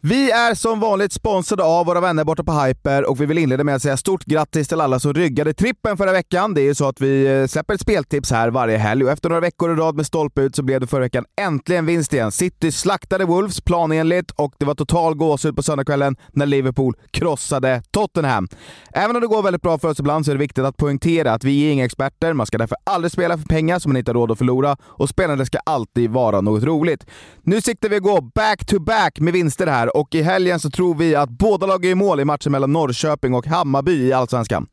Speaker 10: Vi är som vanligt sponsrade av våra vänner borta på Hyper och vi vill inleda med att säga stort grattis till alla som ryggade trippen förra veckan. Det är ju så att vi eh, släpper ett speltips här varje helg och efter några veckor i rad med stolpe ut så blev det förra veckan äntligen vinst igen. City slaktade Wolves planenligt och det var total gåshud på söndagskvällen när Liverpool krossade Tottenham. Även om det går väldigt bra för oss ibland så är det viktigt att poängtera att vi är inga experter. Man ska därför aldrig spela för pengar som man inte har råd att förlora och spelandet ska alltid vara något roligt. Nu siktar vi att gå back-to-back med vinster här och i helgen så tror vi att båda lag är i mål i matchen mellan Norrköping och Hammarby i Allsvenskan.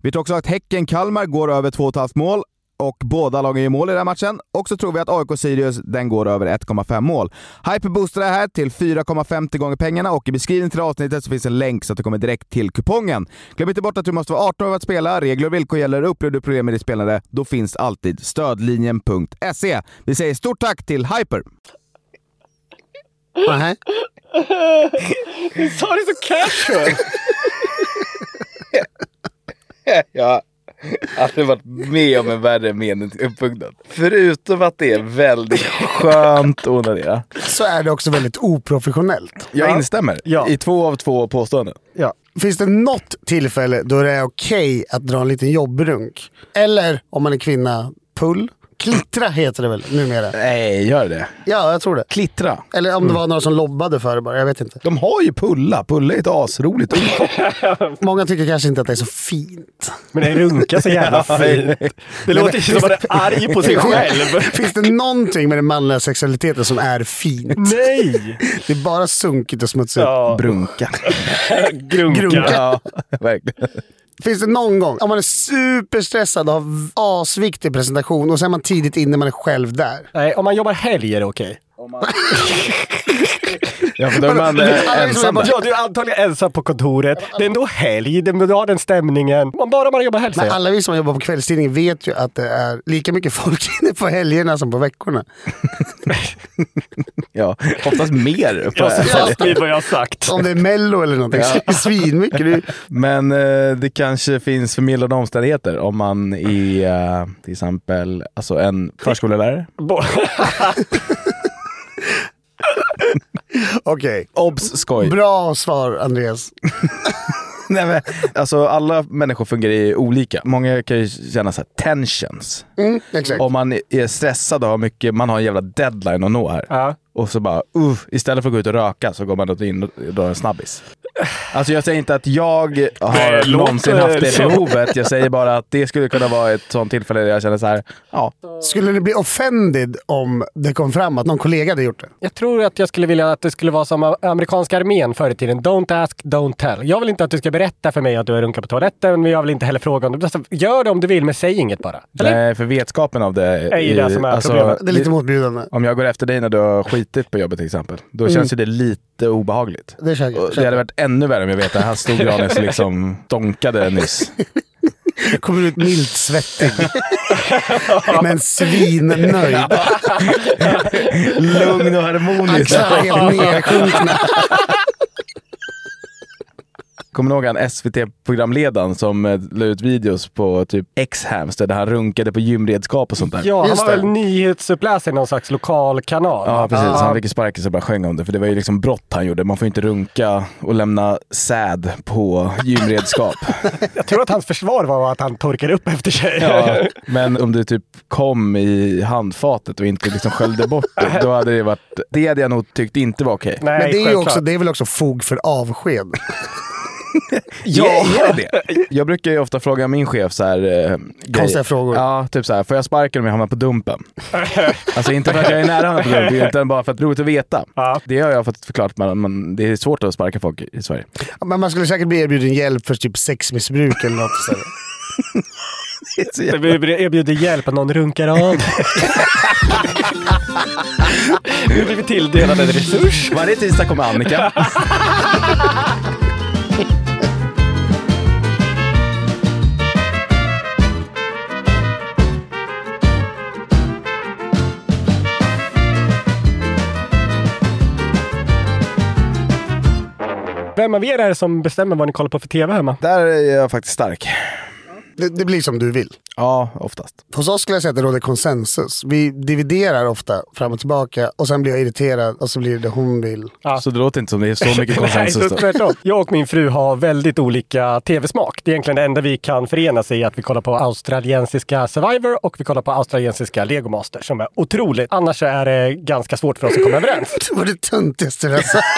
Speaker 10: Vi tror också att Häcken-Kalmar går över 2,5 mål och båda lagen gör mål i den här matchen. Och så tror vi att AIK-Sirius, den går över 1,5 mål. Hyper boostar det här till 4,50 gånger pengarna och i beskrivningen till det här avsnittet så finns en länk så att du kommer direkt till kupongen. Glöm inte bort att du måste vara 18 år för att spela. Regler och villkor gäller. Upplever du problem med ditt spelande, då finns alltid stödlinjen.se. Vi säger stort tack till Hyper!
Speaker 4: Nähä.
Speaker 2: Du [laughs] sa det så casual!
Speaker 3: Jag [laughs] har aldrig varit med om en värre mening till uppbyggnad. Förutom att det är väldigt skönt att onanera.
Speaker 4: Så är det också väldigt oprofessionellt.
Speaker 3: Jag instämmer
Speaker 2: Ja.
Speaker 3: i två av två påståenden.
Speaker 4: Ja. Finns det något tillfälle då det är okej att dra en liten jobbrunk? Eller om man är kvinna, pull? Klittra heter det väl numera?
Speaker 3: Nej, gör det.
Speaker 4: Ja, jag tror det.
Speaker 3: Klittra.
Speaker 4: Eller om det var några som lobbade för det bara, jag vet inte.
Speaker 3: De har ju pulla. Pulla är ett asroligt [laughs] ord.
Speaker 4: Många tycker kanske inte att det är så fint.
Speaker 2: Men en runka så jävla fint. Det låter ju som att man är arg [laughs] på sig själv.
Speaker 4: [laughs] Finns det någonting med den manliga sexualiteten som är fint?
Speaker 2: Nej!
Speaker 4: Det är bara sunkigt och smutsigt.
Speaker 2: Ja,
Speaker 3: Brunka.
Speaker 2: grunka.
Speaker 3: Ja, verkligen.
Speaker 4: Finns det någon gång, om man är superstressad och har asviktig presentation och sen är man tidigt inne, man är själv där.
Speaker 2: Nej, om man jobbar helg är det okej.
Speaker 3: Ja, för då är man eh, ensam där.
Speaker 2: Ja, du är antagligen ensam på kontoret. Det är ändå helg, det- du har den stämningen. Man bara man jobbar helg
Speaker 4: Men
Speaker 2: säger jag.
Speaker 4: alla vi som jobbar på kvällstidning vet ju att det är lika mycket [laughs] folk inne på helgerna som på veckorna.
Speaker 3: Ja, oftast mer.
Speaker 2: Jag står fast vid vad jag har sagt.
Speaker 4: Om det är mello eller någonting. så är [laughs] det Svinmycket. Det är-
Speaker 3: Men eh, det kanske finns förmildrande omständigheter om man är eh, till exempel alltså en förskollärare.
Speaker 2: Bo-
Speaker 4: Okej.
Speaker 3: Obs! Skoj.
Speaker 4: Bra svar Andreas.
Speaker 3: Nej, men, alltså, alla människor fungerar ju olika. Många kan ju känna så här, tensions.
Speaker 4: Mm,
Speaker 3: Om man är stressad och har mycket, man har en jävla deadline att nå här. Och så bara, uh, istället för att gå ut och röka så går man in och drar en snabbis. Alltså jag säger inte att jag
Speaker 10: Det
Speaker 3: har
Speaker 10: låter
Speaker 3: någonsin haft det
Speaker 10: så.
Speaker 3: behovet. Jag säger bara att det skulle kunna vara ett sånt tillfälle där jag känner så här, ja.
Speaker 4: Skulle du bli offended om det kom fram att någon kollega hade gjort det?
Speaker 2: [laughs] Jag tror att jag skulle vilja att det skulle vara som amerikanska armén förr i tiden. Don't ask, don't tell. Jag vill inte att du ska berätta för mig att du har runkat på toaletten, men jag vill inte heller fråga om du... Alltså, Gör det om du vill, men säg inget bara. Eller?
Speaker 3: Nej, för vetskapen av det alltså,
Speaker 2: Är ju det som är problemet. Det är lite
Speaker 4: motbjudande.
Speaker 3: Om jag går efter dig när du har skitit på jobbet till exempel, då
Speaker 2: Mm.
Speaker 3: känns ju det lite obehagligt.
Speaker 4: Det, käkar,
Speaker 3: Och det hade varit ännu värre om jag vet att han stod granis och liksom donkade nyss.
Speaker 4: Kommer ut milt svettig. Men svinnöjd.
Speaker 3: Lugn och harmonisk.
Speaker 4: Axlarna helt nedsjunkna.
Speaker 3: [laughs] Kommer ni ihåg han SVT-programledaren som eh, la ut videos på typ X-Hamster där han runkade på gymredskap och sånt där?
Speaker 2: Ja, han var väl nyhetsuppläsare i någon slags lokal kanal?
Speaker 3: Ja, precis. Han fick ju sparken så bara sjöng om det. För det var ju liksom brott han gjorde. Man får ju inte runka och lämna säd på gymredskap.
Speaker 2: Jag tror att hans försvar var att han torkade upp efter sig. [laughs]
Speaker 3: Ja, men om du typ kom i handfatet och inte liksom sköljde bort det, då hade det varit... Det hade jag nog tyckt inte var okej.
Speaker 4: Men det är, ju också, det är väl också fog för avsked?
Speaker 3: Ja, är det det? Jag brukar ju ofta fråga min chef så här... eh, grejer.
Speaker 4: frågor.
Speaker 3: Ja, typ så här. Får jag sparken om jag hamnar på [laughs] dumpen? alltså inte för att jag är nära hamnar på dumpen, utan bara för att det är roligt att veta. Det har jag fått förklarat, men men det är svårt att sparka folk i Sverige.
Speaker 4: Men man skulle säkert bli erbjuden hjälp för typ sexmissbruk eller något istället.
Speaker 2: Vi erbjuder hjälp och någon runkar av. Nu blir vi tilldelade en resurs.
Speaker 3: Varje tisdag kommer [laughs] Annika.
Speaker 2: Vem av er är det som bestämmer vad ni kollar på för tv hemma?
Speaker 3: Där är jag faktiskt stark.
Speaker 4: Det, det blir som du vill.
Speaker 3: Ja, oftast.
Speaker 4: Hos oss skulle jag säga att det råder konsensus. Vi dividerar ofta fram och tillbaka och sen blir jag irriterad och så blir det det hon vill.
Speaker 3: Så det låter inte som det är [laughs] så mycket konsensus.
Speaker 2: Nej,
Speaker 3: då.
Speaker 2: så tvärtom. Jag och min fru har väldigt olika tv-smak. Det är egentligen det enda vi kan förena sig i att vi kollar på australiensiska Survivor och vi kollar på australiensiska Lego Master som är otroligt. Annars så är det ganska svårt för oss att komma överens.
Speaker 4: Det var det töntigaste jag sagt.
Speaker 3: [laughs]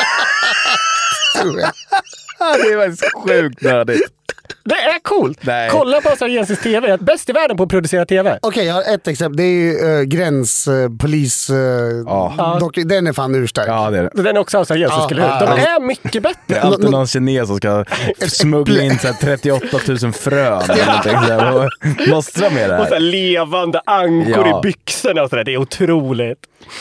Speaker 4: Tror jag.
Speaker 3: det är faktiskt sjukt nördigt.
Speaker 2: Det är coolt!
Speaker 3: Nej.
Speaker 2: Kolla på australiensisk tv. Bäst i världen på att producera tv.
Speaker 4: [laughs] Okej, jag har ett exempel. Det är ju eh, gränspolis... eh, dock- Den är fan urstark.
Speaker 3: Ja, det är det.
Speaker 2: Den är också australiensisk,
Speaker 4: Ja,
Speaker 2: eller hur? De
Speaker 4: ja.
Speaker 2: är mycket
Speaker 3: Det
Speaker 2: bättre.
Speaker 3: är alltid någon kines som [laughs] ska smuggla in så här 38 000 frön eller någonting. Så här, [laughs] vad- Måste de med det
Speaker 2: Och så
Speaker 3: här?
Speaker 2: här levande ankor
Speaker 3: Ja.
Speaker 2: i byxorna och sådär. Det är otroligt.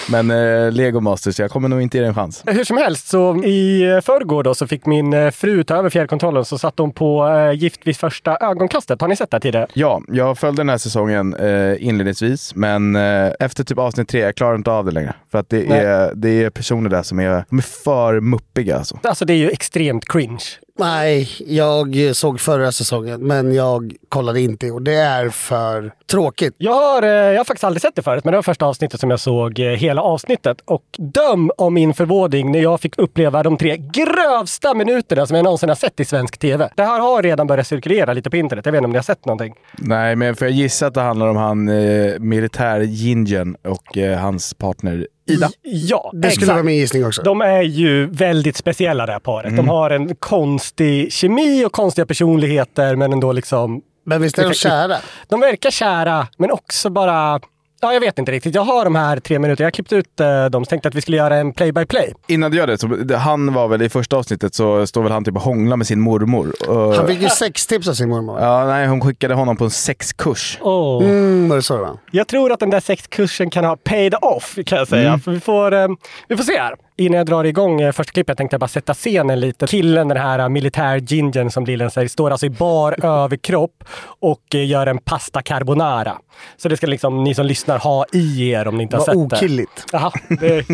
Speaker 3: Men eh, Lego Masters, jag kommer nog inte ge det en chans.
Speaker 2: Eh, Hur som helst, så i eh, förrgår då så fick min eh, fru ta över fjärrkontrollen så satt hon på eh, Gift vid första ögonkastet. Har ni sett det här tidigare?
Speaker 3: Ja, jag följde den här säsongen eh, inledningsvis, men eh, efter typ avsnitt tre, jag klarar inte av det längre. För att det är, det är personer där som är, de är för muppiga alltså.
Speaker 2: Alltså det är ju extremt cringe.
Speaker 4: Nej, jag såg förra säsongen men jag kollade inte och det är för tråkigt.
Speaker 2: Jag har, eh, jag har faktiskt aldrig sett det förut, men det var första avsnittet som jag såg eh, hela avsnittet. Och döm om min förvåning när jag fick uppleva de tre grövsta minuterna som jag någonsin har sett i svensk tv. Det här har redan börjat cirkulera lite på internet. Jag vet inte om ni har sett någonting.
Speaker 3: Nej, men får jag gissa att det handlar om han eh, militär Gingen och eh, hans partner Ida?
Speaker 2: Ja,
Speaker 4: Det skulle
Speaker 2: exakt.
Speaker 4: vara min gissning också.
Speaker 2: De är ju väldigt speciella det här paret.
Speaker 3: Mm.
Speaker 2: De har en konstig kemi och konstiga personligheter men ändå liksom...
Speaker 4: Men visst är de kära?
Speaker 2: De verkar kära men också bara... Ja, jag vet inte riktigt. Jag har de här tre minuterna. Jag har klippt ut eh, dem så tänkte jag att vi skulle göra en play-by-play.
Speaker 3: Innan du gör det, så, det- han var väl i första avsnittet så står väl han typ och hånglar med sin mormor. Och,
Speaker 4: Han fick ju sextips av sin mormor.
Speaker 3: ja, nej, hon skickade honom på en sexkurs.
Speaker 2: Åh.
Speaker 4: Mm, var det så det var?
Speaker 2: Jag tror att den där sexkursen kan ha paid off kan jag säga.
Speaker 3: Mm.
Speaker 2: För vi, får, eh, vi får se här. Innan jag drar igång eh, första klippet tänkte jag bara sätta scenen lite. Killen, den här eh, militär-gingen som Lillen säger, står alltså i
Speaker 4: [laughs]
Speaker 2: bar överkropp och eh, gör en pasta carbonara. Så det ska liksom ni som lyssnar ha i er om ni inte har
Speaker 4: Vad
Speaker 2: sett det.
Speaker 4: okilligt.
Speaker 2: Jaha,
Speaker 4: [laughs]
Speaker 2: det.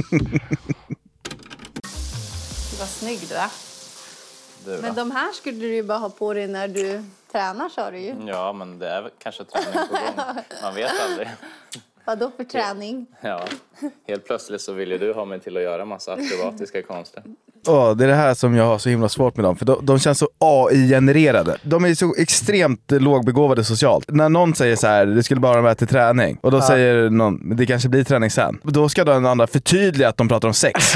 Speaker 11: Vad snygg du är.
Speaker 12: Du,
Speaker 11: Men
Speaker 12: då?
Speaker 11: de här skulle du ju bara ha på dig när du tränar sa du ju.
Speaker 12: Mm, Ja, men det är väl kanske träning på gång.
Speaker 8: [laughs]
Speaker 12: Man vet aldrig.
Speaker 11: Vadå för träning?
Speaker 12: Ja. Helt plötsligt så vill ju du ha mig till att göra massa akrobatiska konster.
Speaker 3: Ja, det är det här som jag har så himla svårt med dem. För de, de känns så AI-genererade. De är så extremt eh, lågbegåvade socialt. När någon säger så här, det skulle bara vara med till träning. Och då
Speaker 10: Ja.
Speaker 3: säger någon, "Men det kanske blir träning sen. Då ska den andra förtydliga att de pratar om sex.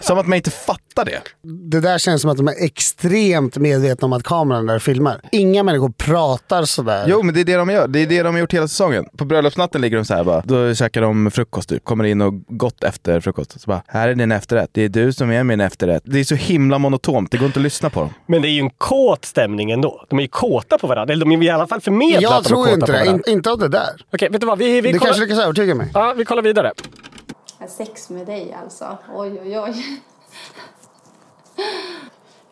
Speaker 3: som att man inte fattar det.
Speaker 4: Det där känns som att de är extremt medvetna om att kameran där filmar. Inga människor pratar sådär.
Speaker 3: Jo, men det är det de gör. Det är det de har gjort hela säsongen. På bröllopsnatten ligger de så här bara. Då käkar de frukost typ. Kommer in och gott efter frukost. Så bara, här är din efterrätt. Det är du som är min efterrätt. Det är så himla monotont. Det går inte att lyssna på dem.
Speaker 2: Men det är ju en kåt stämning ändå. De är ju kåta på varandra. Eller de är i alla fall förmedlat
Speaker 4: Jag
Speaker 2: att de är
Speaker 4: tror
Speaker 2: kåta
Speaker 4: inte
Speaker 2: på
Speaker 4: det.
Speaker 2: varandra.
Speaker 4: In, inte av det där.
Speaker 2: Okej, vet du vad? Vi, vi
Speaker 4: du
Speaker 2: kollar-
Speaker 4: kanske lyckas övertyga mig.
Speaker 2: Ja, vi kollar vidare.
Speaker 11: Jag har Sex med dig alltså. Oj, oj, oj.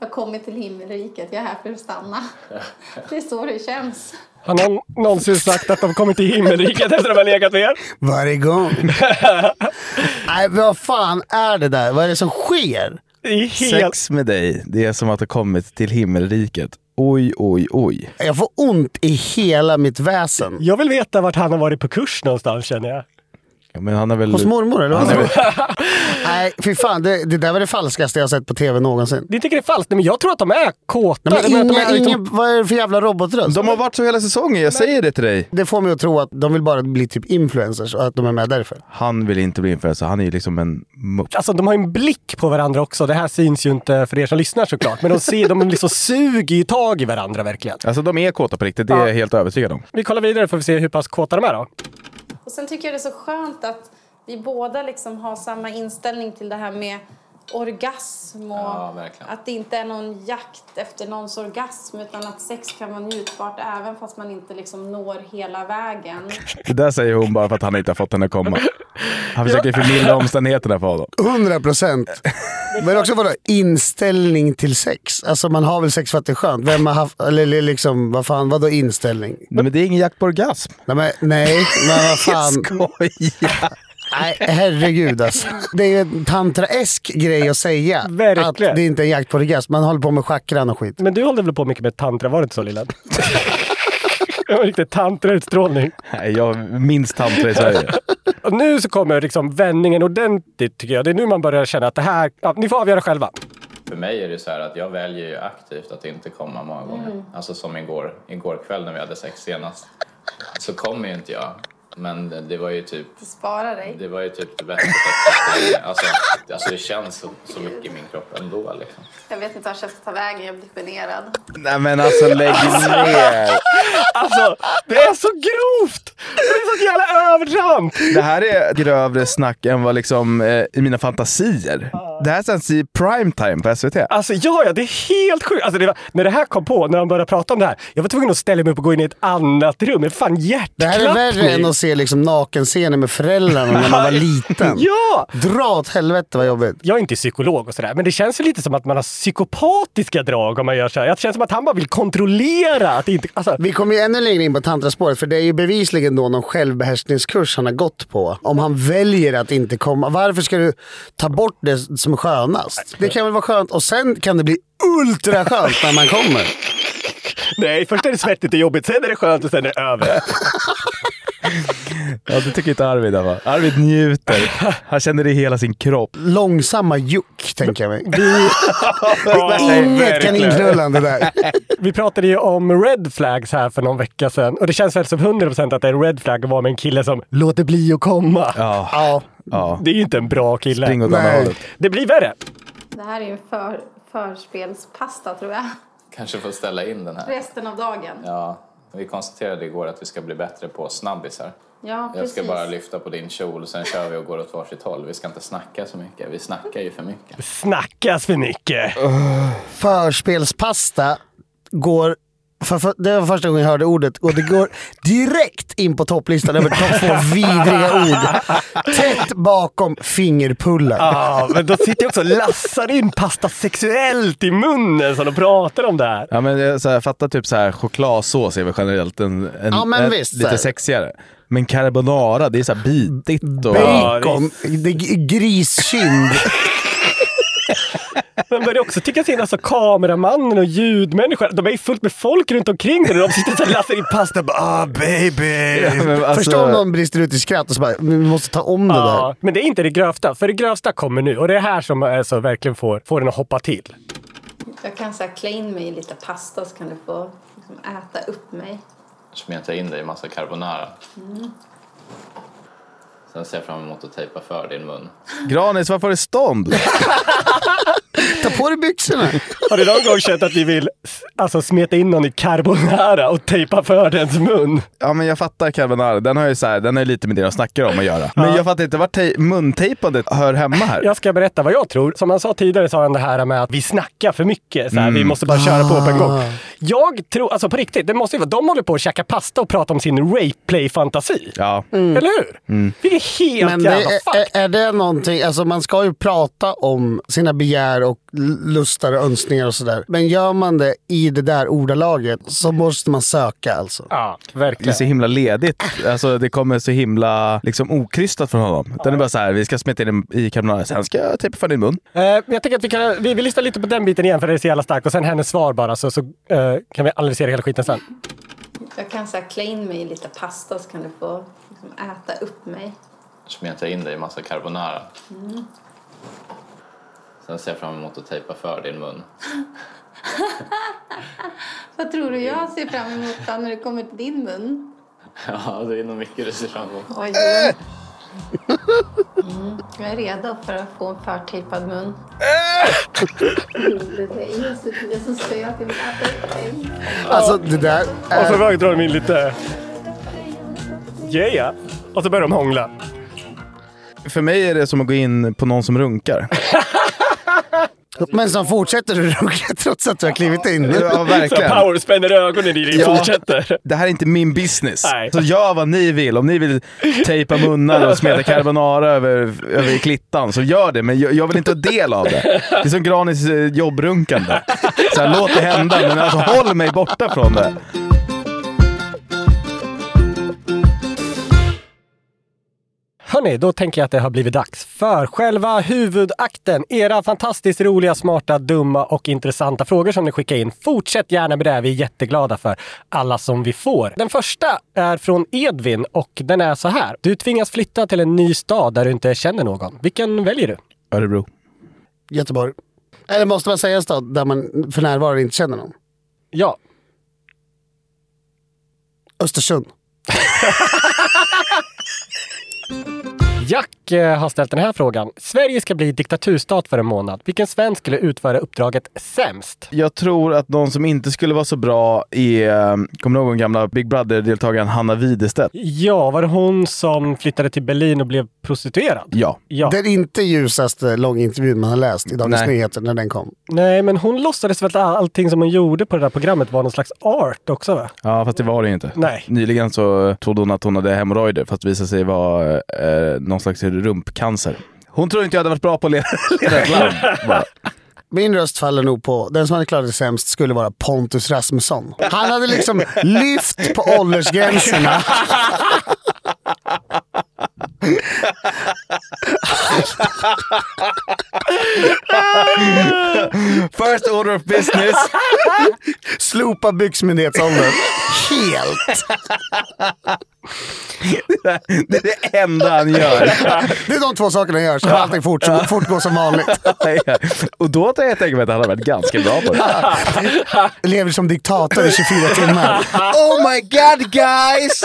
Speaker 11: Jag kommer till himmelriket. Jag är här för att
Speaker 12: [laughs]
Speaker 11: stanna. Det är så det känns.
Speaker 2: Har någon någonsin sagt att de kommer till himmelriket efter att de har legat med er?
Speaker 4: Varje gång. Nej, vad fan är det där? Vad är det som sker?
Speaker 3: Sex med dig, det är som att ha kommit till himmelriket. Oj, oj, oj.
Speaker 4: Jag får ont i hela mitt väsen.
Speaker 2: Jag vill veta vart han har varit på kurs någonstans känner jag.
Speaker 3: Ja, men han har väl...
Speaker 4: Hos mormor eller?
Speaker 3: Han
Speaker 4: vad?
Speaker 3: är väl-
Speaker 4: Nej, fy fan. Det, det där var det falskaste jag har sett på tv någonsin.
Speaker 2: Ni tycker det är falskt? Nej, men jag tror att de är kåta.
Speaker 4: Nej,
Speaker 2: Jag menar
Speaker 4: men
Speaker 2: att de
Speaker 4: inga,
Speaker 2: är liksom-
Speaker 4: ingen, vad är det för jävla
Speaker 3: [laughs]
Speaker 4: robotröst?
Speaker 3: De har varit så hela säsongen, jag säger det till dig.
Speaker 4: Det får mig att tro att de vill bara bli typ influencers och att de är med därför.
Speaker 3: Han vill inte bli influencer, han är ju liksom en mupp.
Speaker 2: Alltså de har ju en blick på varandra också. Det här syns ju inte för er som lyssnar såklart. Men de ser, de liksom suger ju tag i varandra verkligen.
Speaker 3: Alltså de är kåta på riktigt, det är jag helt övertygad om.
Speaker 2: Vi kollar vidare för att se hur pass kåta de är då.
Speaker 11: Och sen tycker jag det är så skönt att vi båda liksom har samma inställning till det här med orgasm och att det inte är någon jakt efter någons orgasm utan att sex kan vara njutbart även fast man inte liksom når hela vägen.
Speaker 3: Det där säger hon bara för att han inte har fått henne att komma. Han försöker förmildra omständigheterna för honom.
Speaker 4: 100 procent. Men också vadå? Inställning till sex. Alltså man har väl sex för att det är skönt. Vem har haft, eller liksom, vad fan, vadå inställning?
Speaker 3: Nej, men det är ingen jakt på [laughs] orgasm.
Speaker 4: Nej, men, nej, men vad fan. Nej, herregud alltså. Det är ju en tantraesk grej att säga. Att det
Speaker 2: Verkligen.
Speaker 4: är inte är en jakt på orgasm. Man håller på med chakran och skit.
Speaker 2: Men du håller väl på mycket med tantra, var det inte så lilla? [laughs] Det var riktigt tantrautstrålning.
Speaker 3: Nej, jag minns tantra i Sverige.
Speaker 2: Och nu så kommer liksom vändningen ordentligt tycker jag. Det är nu man börjar känna att det här, ja, ni får avgöra själva.
Speaker 12: För mig är det så här att jag väljer ju aktivt att inte komma många gånger.
Speaker 2: Mm.
Speaker 12: Alltså som igår, igår kväll när vi hade sex senast. Så kom ju inte jag. Men det- det var ju typ
Speaker 11: Spara dig.
Speaker 12: det, var ju typ det bästa sexet. Alltså, alltså det känns så, så mycket i min kropp ändå liksom.
Speaker 11: Jag vet inte vart jag ska ta vägen, jag blir generad.
Speaker 3: Nej men alltså lägg ner.
Speaker 2: Alltså, det är så grovt! Det är så jävla övertramp!
Speaker 3: Det här är grövre snack än vad liksom, eh, i mina fantasier. Det här sänds i primetime på SVT.
Speaker 2: Alltså ja, ja, det är helt sjukt. Alltså, det var, när det här kom på, när de började prata om det här, jag var tvungen att ställa mig upp och gå in i ett annat rum. Det är fan
Speaker 4: Det
Speaker 2: hjärtklappning.
Speaker 4: här är värre än att se liksom nakenscener med föräldrarna när man var liten.
Speaker 2: [laughs] Ja!
Speaker 4: Dra åt helvete vad jobbigt.
Speaker 2: Jag är inte psykolog och sådär, men det känns ju lite som att man har psykopatiska drag om man gör så här. Det känns som att han bara vill kontrollera att det inte... Alltså,
Speaker 4: Vi kommer ju ännu längre in på tantraspåret för det är ju bevisligen då någon självbehärskningskurs han har gått på. Om han väljer att inte komma. Varför ska du ta bort det som är skönast? Det kan väl vara skönt och sen kan det bli ultra skönt när man kommer.
Speaker 2: nej, först är det svettigt och jobbigt, sen är det skönt och sen är det
Speaker 4: [laughs]
Speaker 2: över.
Speaker 3: Ja, det tycker inte Arvid. va? Arvid njuter. Han känner det i hela sin kropp.
Speaker 4: Långsamma juck tänker jag mig.
Speaker 3: Nej,
Speaker 4: Inget kan
Speaker 3: verkligen.
Speaker 4: inknulla det där.
Speaker 2: Vi pratade ju om red flags här för någon vecka sedan och det känns väl som 100% att det är en red flag att vara med en kille som låter bli att komma.
Speaker 4: Ja.
Speaker 3: Ja.
Speaker 2: Det är ju inte en bra kille.
Speaker 3: Spring åt andra
Speaker 2: Nej.
Speaker 3: hållet.
Speaker 2: Det blir värre.
Speaker 11: Det här är ju en för, förspelspasta tror jag.
Speaker 12: Kanske får ställa in den här.
Speaker 11: Resten av dagen.
Speaker 12: Ja, vi konstaterade igår att vi ska bli bättre på snabbisar.
Speaker 11: Ja,
Speaker 12: Jag ska
Speaker 11: precis.
Speaker 12: bara lyfta på din kjol, sen kör vi och går åt varsitt håll. Vi ska inte snacka så mycket. Vi snackar ju för mycket.
Speaker 2: Snackas för mycket.
Speaker 4: Förspelspasta går... För, för, det var första gången jag hörde ordet och det går direkt in på topplistan över topp två vidriga ord. Tätt bakom fingerpullar.
Speaker 2: Ja, men de sitter ju också och lassar in pasta sexuellt i munnen som de pratar om det här.
Speaker 3: Ja, men jag, så här, jag fattar typ så här, chokladsås är väl generellt en, en,
Speaker 4: Ja, men
Speaker 3: en,
Speaker 4: visst, så
Speaker 3: lite
Speaker 4: här.
Speaker 3: sexigare. Men carbonara, det är så här bitigt och...
Speaker 4: Bacon, det är g- griskind.
Speaker 2: Men börjar också tycka till, alltså kameramannen och ljudmänniskan. De är ju fullt med folk runt omkring dig. De sitter och läser in pasta. Bara, ah, baby!
Speaker 4: Ja, men alltså- Förstå om de brister ut i skratt och så bara, vi måste ta om det där.
Speaker 2: Men det är inte det grövsta, för det grövsta kommer nu. Och det är här som alltså, verkligen får, får den att hoppa till.
Speaker 11: Jag kan så här klä in mig i lite pasta så kan du få liksom, äta upp mig.
Speaker 12: Smeta in dig i massa carbonara.
Speaker 11: Mm.
Speaker 12: Sen ser jag fram emot att tejpa för din mun.
Speaker 3: Granis, varför har du stånd?
Speaker 4: Ta på dig byxorna!
Speaker 2: Har du någon gång känt att ni vill s- alltså, smeta in någon i carbonara och tejpa för dens mun?
Speaker 3: Ja men jag fattar carbonara, den har ju så här, den har ju lite med det de snackar om att göra. Men jag fattar inte vart tej- muntejpandet hör hemma här.
Speaker 2: Jag ska berätta vad jag tror. Som han sa tidigare sa han det här med att vi snackar för mycket. Så här,
Speaker 3: Mm.
Speaker 2: Vi måste bara köra på på en gång.
Speaker 3: Ah.
Speaker 2: Jag tror, alltså på riktigt, det måste ju vara, de håller på att käka pasta och prata om sin rape play-fantasi.
Speaker 3: Ja. Mm.
Speaker 2: Eller hur? Vilket helt
Speaker 4: Men det,
Speaker 2: jävla
Speaker 4: är, är- är det någonting, alltså man ska ju prata om sina begär och l- lustar och önskningar och sådär. Men gör man det i det där ordalaget så måste man söka alltså.
Speaker 2: Ja, verkligen.
Speaker 3: Det är så himla ledigt. Alltså, det kommer så himla liksom, okrystat från honom. Den är bara så här, vi ska smeta in den i carbonara, sen ska jag tejpa för din mun.
Speaker 2: Eh, men jag tänker att vi kan, vi, vi lyssnar lite på den biten igen för det är så jävla starkt. Och sen hennes svar bara, så, så eh, kan vi analysera hela skiten sen.
Speaker 11: Jag kan så här klä in mig i lite pasta så kan du få liksom, äta upp mig.
Speaker 12: Smeta in dig i massa carbonara.
Speaker 11: Mm.
Speaker 12: Sen ser jag fram emot att tejpa för din mun. [laughs]
Speaker 11: Vad tror du jag ser fram emot då när det kommer till din mun?
Speaker 12: Ja, det är nog mycket du ser fram emot.
Speaker 11: Oj, oj. Mm. Jag är redo för att få en förtejpad mun. Det är så- det är så söt. Jag vill äta upp dig.
Speaker 4: Alltså det där
Speaker 2: Och så
Speaker 4: är...
Speaker 2: bara drar de in lite... Yeah. Och så börjar de hångla.
Speaker 3: För mig är det som att gå in på någon som runkar.
Speaker 4: Men som fortsätter du [laughs] runka trots att du har klivit in.
Speaker 3: Ja, verkligen.
Speaker 2: Power spänner ögonen i dig och
Speaker 3: Ja.
Speaker 2: fortsätter.
Speaker 3: Det här är inte min business.
Speaker 2: Nej.
Speaker 3: Så gör vad ni vill. Om ni vill tejpa munnar och
Speaker 2: [laughs]
Speaker 3: smeta carbonara över, över klittan så gör det. Men jag, jag vill inte ha del av det. Det är som Granis eh, jobbrunkande. Så här, låt det hända, men alltså håll mig borta från det.
Speaker 2: Hörni, då tänker jag att det har blivit dags för själva huvudakten. Era fantastiskt roliga, smarta, dumma och intressanta frågor som ni skickar in. Fortsätt gärna med det. här. Vi är jätteglada för alla som vi får. Den första är från Edvin och den är så här. Du tvingas flytta till en ny stad där du inte känner någon. Vilken väljer du?
Speaker 3: Örebro.
Speaker 4: Göteborg. Eller måste man säga en stad där man för närvarande inte känner någon?
Speaker 2: Ja.
Speaker 4: Östersund.
Speaker 2: Jack eh, har ställt den här frågan. Sverige ska bli diktaturstat för en månad. Vilken svensk skulle utföra uppdraget sämst?
Speaker 3: Jag tror att någon som inte skulle vara så bra är, eh, kommer du ihåg den gamla Big Brother-deltagaren Hanna Widerstedt?
Speaker 2: Ja, var det hon som flyttade till Berlin och blev prostituerad?
Speaker 3: Ja.
Speaker 2: Ja.
Speaker 4: Den inte ljusaste långintervjun man har läst i Dagens
Speaker 2: Nej.
Speaker 4: Nyheter när den kom.
Speaker 2: Nej, men hon låtsades väl att all- allting som hon gjorde på det där programmet var någon slags art också va?
Speaker 3: Ja, fast det var det ju inte.
Speaker 2: Nej.
Speaker 3: Nyligen så trodde hon att hon hade hemorrojder, fast det visade sig vara eh, någon slags rumpcancer. Hon tror inte jag hade varit bra på att leda, [laughs] leda ett land. bara.
Speaker 4: Min röst faller nog på, den som hade klarat det sämst skulle vara Pontus Rasmusson. Han
Speaker 2: [laughs]
Speaker 4: hade liksom lyft på åldersgränserna.
Speaker 3: First order of business. [laughs]
Speaker 4: Slopa byxmyndighetsåldern. Helt.
Speaker 3: Det är det enda han gör. [laughs]
Speaker 4: Det är de två sakerna jag gör, så allting fort, fortgår som vanligt.
Speaker 3: Ja. Och då kan jag tänka mig att han hade varit ganska bra på det.
Speaker 4: Lever som diktator i 24 timmar. Oh my god guys!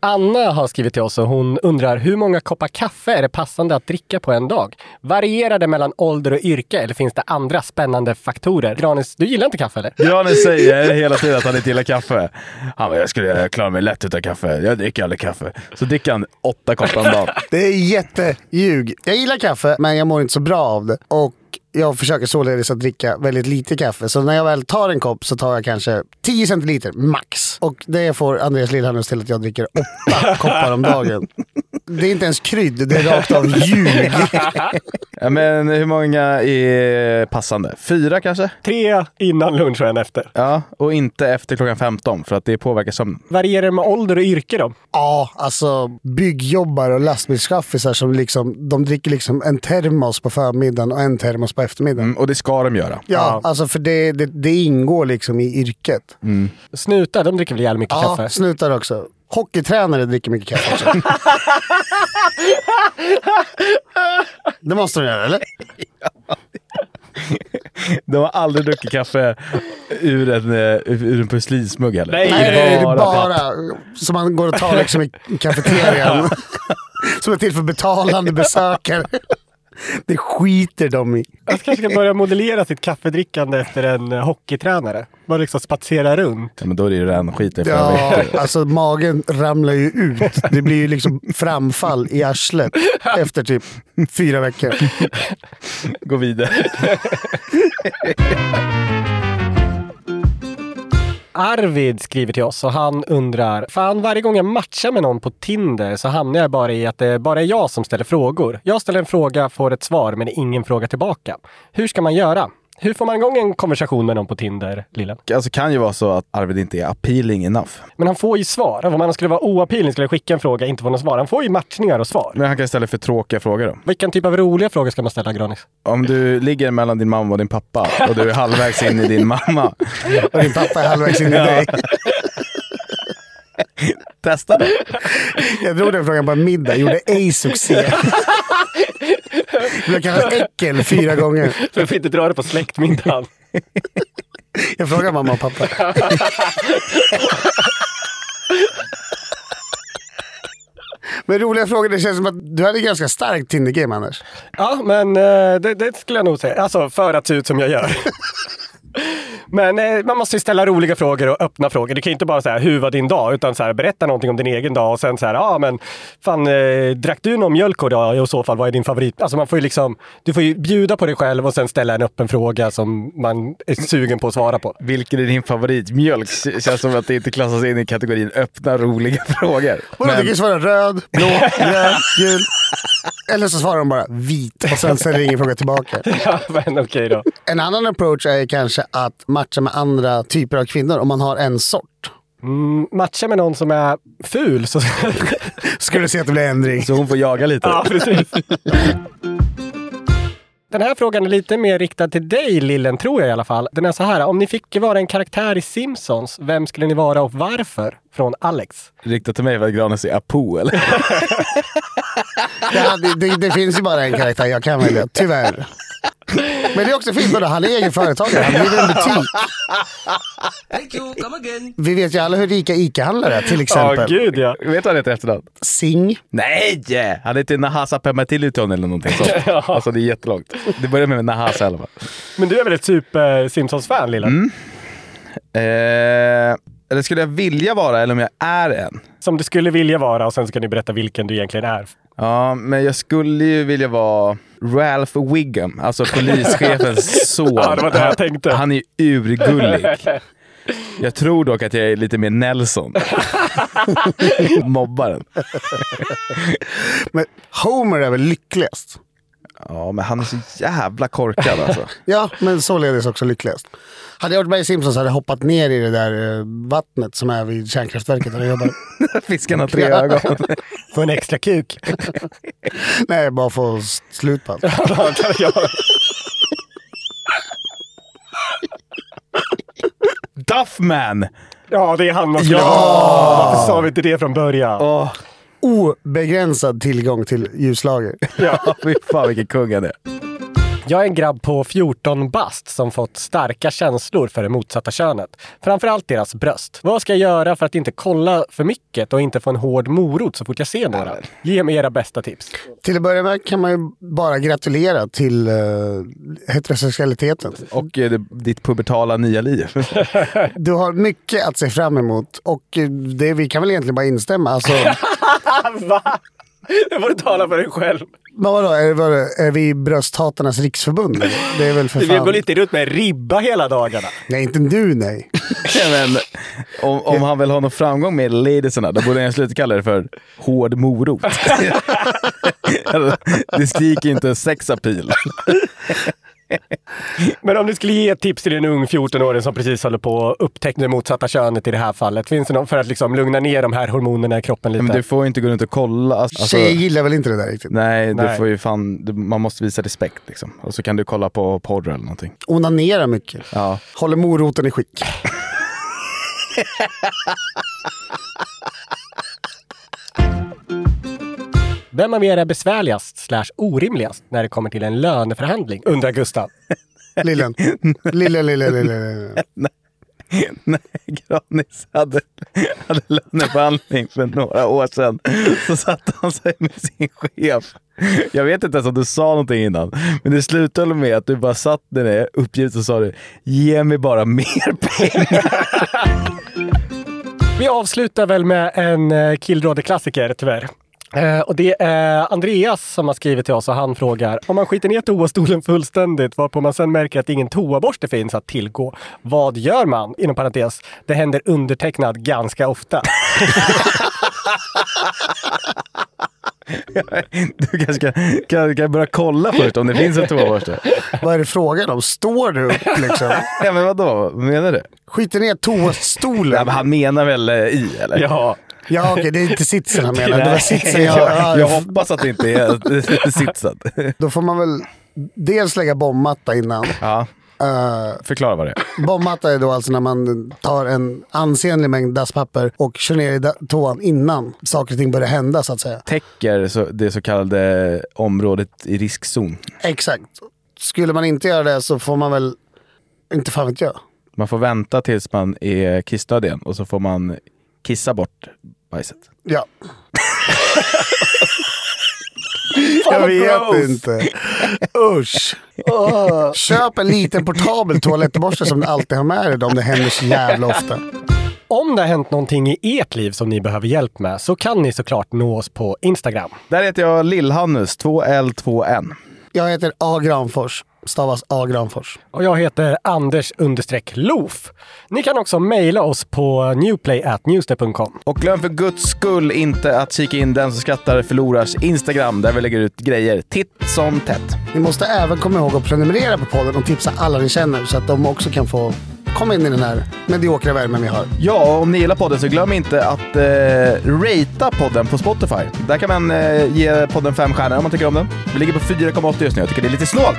Speaker 2: Anna har skrivit till oss och hon undrar hur många koppar kaffe är det passande att dricka på en dag? Varierar det mellan ålder och yrke eller finns det andra spännande faktorer? Granis, du gillar inte kaffe eller?
Speaker 3: Granis säger hela tiden att han inte gillar kaffe. Han bara, jag skulle klara mig lätt utan kaffe. Jag dricker aldrig kaffe. Så dricker han åtta koppar om dagen.
Speaker 4: Det är jätteljug. Jag gillar kaffe, men jag mår inte så bra av det. Och jag försöker således att dricka väldigt lite kaffe. Så när jag väl tar en kopp så tar jag kanske 10 centiliter max. Och det får Andreas Lillhannes till att jag dricker åtta koppar om dagen. det är inte ens krydd, det är rakt av ljug.
Speaker 3: ja, men hur många är passande? Fyra kanske?
Speaker 2: Tre innan lunch och en efter.
Speaker 3: Ja, och inte efter klockan 15 för att det påverkar sömnen.
Speaker 2: Varierar det med ålder och yrke då?
Speaker 4: Ja, alltså byggjobbare och lastbilschaffisar som liksom, de dricker liksom en termos på förmiddagen och en termos på eftermiddagen.
Speaker 3: mm, och det ska de göra.
Speaker 4: Ja, alltså för det, det, det ingår liksom i yrket.
Speaker 2: Snutar, de dricker väl jävligt mycket
Speaker 4: ja,
Speaker 2: kaffe?
Speaker 4: snutar också. Hockeytränare dricker mycket kaffe också. [laughs] det måste de göra, eller?
Speaker 3: De har aldrig druckit kaffe ur en, eh, ur en porslinsmugg heller.
Speaker 4: Nej, nej, det är bara,
Speaker 3: papp.
Speaker 4: som man går och tar liksom i kafeterian. [laughs] som är till för betalande besökare. Det skiter de i.
Speaker 2: Jag kanske ska börja modellera sitt kaffedrickande efter en eh, hockeytränare. Bara liksom spatsera runt.
Speaker 3: Ja, men då är det ju redan skit i förväg.
Speaker 4: Ja, alltså magen ramlar ju ut. Det blir ju liksom framfall i [laughs] arslet efter typ fyra veckor.
Speaker 3: Gå vidare.
Speaker 2: Arvid skriver till oss och han undrar, fan varje gång jag matchar med någon på Tinder så hamnar jag bara i att det bara är jag som ställer frågor. Jag ställer en fråga, får ett svar men det är ingen fråga tillbaka. Hur ska man göra? Hur får man igång en konversation med någon på Tinder, Lillen?
Speaker 3: Alltså kan ju vara så att Arvid inte är appealing enough.
Speaker 2: Men han får ju svar. Om han skulle vara oappealing skulle jag skicka en fråga, inte få något svar. Han får ju matchningar och svar.
Speaker 3: Men han kan istället för tråkiga frågor då.
Speaker 2: Vilken typ av roliga frågor ska man ställa, [laughs] Granis?
Speaker 3: Om du ligger mellan din mamma och din pappa och du är halvvägs in i din mamma.
Speaker 4: Och din pappa är halvvägs in i dig.
Speaker 3: Testa det.
Speaker 4: Jag drog den frågan på en middag, gjorde ej succé. Blev kallad äckel fyra gånger.
Speaker 2: Jag får inte dra det på släktmiddagen.
Speaker 4: Jag frågar mamma och pappa. Men roliga frågor, det känns som att du hade ganska starkt Tinder-game annars.
Speaker 2: Ja, men eh, det, det skulle jag nog säga. Alltså, för att se ut som jag [laughs] gör. Men eh, man måste ju ställa roliga frågor och öppna frågor. Du kan ju inte bara säga “Hur var din dag?” utan så här, berätta någonting om din egen dag och sen så här “Ja, ah, men fan, eh, drack du någon mjölk idag? I så fall, vad är din favorit?” Alltså man får ju liksom, du får ju bjuda på dig själv och sen ställa en öppen fråga som man är sugen på att svara på.
Speaker 3: Vilken är din favoritmjölk? Det Känns som att det inte klassas in i kategorin öppna roliga frågor.
Speaker 4: Vadå, du kan ju svara röd, blå, grön, gul. Eller så svarar de bara vit och sen ställer ingen fråga tillbaka.
Speaker 2: [laughs] Ja, men okej då.
Speaker 4: En annan approach är ju kanske att matcha med andra typer av kvinnor om man har en sort.
Speaker 2: Mm, matcha med någon som är ful så... [laughs]
Speaker 4: Ska du se att det blir ändring.
Speaker 3: Så hon får jaga lite.
Speaker 2: Ja, precis. [laughs] Den här frågan är lite mer riktad till dig, Lillen, tror jag i alla fall. Den är så här. Om ni fick vara en karaktär i Simpsons, vem skulle ni vara och varför? Från Alex.
Speaker 3: Riktat till mig för att granen säger apo eller?
Speaker 4: Det, hade, det, det finns ju bara en karaktär jag kan välja, tyvärr. Men det är också fint, vadå? han är egen företagare, han driver en butik. Vi vet ju alla hur rika ICA-handlare är till exempel.
Speaker 2: Ja, gud ja.
Speaker 3: Vet du vad han heter i efternamn?
Speaker 4: Sing.
Speaker 3: Nej! Han heter Nahasa Pematiluton eller någonting sånt. Alltså det är jättelångt. Det börjar med Nahasa i alla fall.
Speaker 2: Men du är väl ett super-Simpsons-fan, Lillen?
Speaker 3: Mm. Eh, eller skulle jag vilja vara eller om jag är en?
Speaker 2: Som du skulle vilja vara och sen ska ni berätta vilken du egentligen är.
Speaker 3: Ja, men jag skulle ju vilja vara Ralph Wiggum, alltså polischefens son.
Speaker 2: Ja, det var det jag
Speaker 3: Han-
Speaker 2: tänkte.
Speaker 3: Han är ju urgullig. Jag tror dock att jag är lite mer Nelson. Mobbaren.
Speaker 4: Men Homer är väl lyckligast?
Speaker 3: Ja, men han är så jävla korkad alltså.
Speaker 4: Ja, men således också lyckligast. Hade jag varit med i Simpsons hade jag hoppat ner i det där eh, vattnet som är vid kärnkraftverket där jag [laughs] jobbar.
Speaker 3: [laughs] Fisken har tre [laughs] ögon.
Speaker 2: Få en
Speaker 3: [laughs]
Speaker 2: extra kuk.
Speaker 4: Nej, bara få s- slut på allt.
Speaker 3: Duffman!
Speaker 2: ja, det är han man skulle
Speaker 3: Ja!
Speaker 2: vara. Varför sa vi inte det från början?
Speaker 3: Åh,
Speaker 4: Obegränsad tillgång till ljuslager.
Speaker 3: [laughs] fy fan vilken kung han är.
Speaker 2: Jag är en grabb på 14 bast som fått starka känslor för det motsatta könet. Framförallt deras bröst. Vad ska jag göra för att inte kolla för mycket och inte få en hård morot så fort jag ser några? Ge mig era bästa tips.
Speaker 4: Till att börja med kan man ju bara gratulera till eh, heterosexualiteten.
Speaker 3: Och eh, det- ditt pubertala nya [laughs] liv.
Speaker 4: Du har
Speaker 3: [laughs]
Speaker 4: mycket att se fram emot och eh, det, vi kan väl egentligen bara instämma. Alltså,
Speaker 2: Va? Det får du tala för dig själv.
Speaker 4: Men vadå, är, vadå, är vi brösthatarnas riksförbund? eller? Det är väl för
Speaker 2: Vi går
Speaker 4: fan...
Speaker 2: lite runt med ribba hela dagarna.
Speaker 4: Nej, inte du nej.
Speaker 3: Men, om, om han vill ha någon framgång med ladiesarna, då borde han sluta kalla det för hård morot. [laughs] det skriker inte sexapil.
Speaker 2: Men om du skulle ge ett tips till en ung 14-åring som precis håller på att upptäcka det motsatta könet i det här fallet. Finns det någon för att liksom lugna ner de här hormonerna i kroppen lite?
Speaker 3: Men du får ju inte gå runt och kolla. Alltså,
Speaker 4: Tjejer gillar väl inte det där riktigt?
Speaker 3: Nej, du
Speaker 4: Nej.
Speaker 3: får ju fan, du, man måste visa respekt liksom. Och så kan du kolla på porr eller någonting.
Speaker 4: Onanerar mycket.
Speaker 3: Ja.
Speaker 4: Håller moroten i skick.
Speaker 2: Vem av er är besvärligast slash orimligast när det kommer till en löneförhandling? Undrar Gustav.
Speaker 3: [laughs]
Speaker 4: Lillen. Lillen, lillen, lillen.
Speaker 3: [laughs] Nej, Granis hade, hade löneförhandling för några år sedan. Så satte han sig med sin chef. Jag vet inte ens om du sa någonting innan, men det slutade med att du bara satt där nere uppgivet och sa du, ge mig bara mer pengar.
Speaker 2: Vi avslutar väl med en eh, killrådeklassiker tyvärr. Eh, och det är Andreas som har skrivit till oss och han frågar om man skiter ner toastolen fullständigt varpå man sen märker att ingen toaborste finns att tillgå. Vad gör man? Inom parentes, det händer undertecknad ganska ofta.
Speaker 3: Du kanske kan, kan, kan börja kolla först om det finns en toaborste.
Speaker 4: Vad är det frågan om? Står du upp liksom?
Speaker 3: Ja men vadå, vad menar du?
Speaker 4: Skiter ner toastolen?
Speaker 3: Ja, men han menar väl eh, i eller?
Speaker 2: Ja.
Speaker 4: Ja, okej, det är inte sitsen han menar. Det var
Speaker 3: Nej.
Speaker 4: sitsen jag...
Speaker 3: jag,
Speaker 4: ja,
Speaker 3: jag hoppas att det inte är sitsat.
Speaker 4: Då får man väl dels lägga bombmatta innan.
Speaker 3: Ja,
Speaker 4: Eh,
Speaker 3: förklara vad det är.
Speaker 4: Bombmatta är då alltså när man tar en ansenlig mängd dasspapper och kör ner i da- toan innan saker och ting börjar hända så att säga.
Speaker 3: täcker så, det så kallade området i riskzon.
Speaker 4: Exakt. Skulle man inte göra det så får man väl, inte fan vet jag.
Speaker 3: Man får vänta tills man är kissnödig igen och så får man kissa bort bajset.
Speaker 4: Ja.
Speaker 2: [laughs] Fan,
Speaker 4: jag
Speaker 2: vad
Speaker 4: vet
Speaker 2: gross.
Speaker 4: inte. Usch. Köp en liten portabel toalettborste som du alltid har med dig då, om det händer så jävla ofta.
Speaker 2: Om det har hänt någonting i ert liv som ni behöver hjälp med så kan ni såklart nå oss på Instagram.
Speaker 3: Där heter jag Lill-Hannus, 2L2N.
Speaker 4: Jag heter A. Granfors. Stavas A. Granfors.
Speaker 2: Och jag heter Anders understreck Loof. Ni kan också mejla oss på newplay.newster.com.
Speaker 3: Och glöm för guds skull inte att kika in Den som skrattar förlorars Instagram där vi lägger ut grejer titt som tätt.
Speaker 4: Ni måste även komma ihåg att prenumerera på podden och tipsa alla ni känner så att de också kan få komma in i den här mediokra värmen vi har.
Speaker 3: Ja, och om ni gillar podden så glöm inte att eh, ratea podden på Spotify. Där kan man eh, ge podden fem stjärnor om man tycker om den. Vi ligger på 4,8 just nu. Jag tycker det är lite snålt.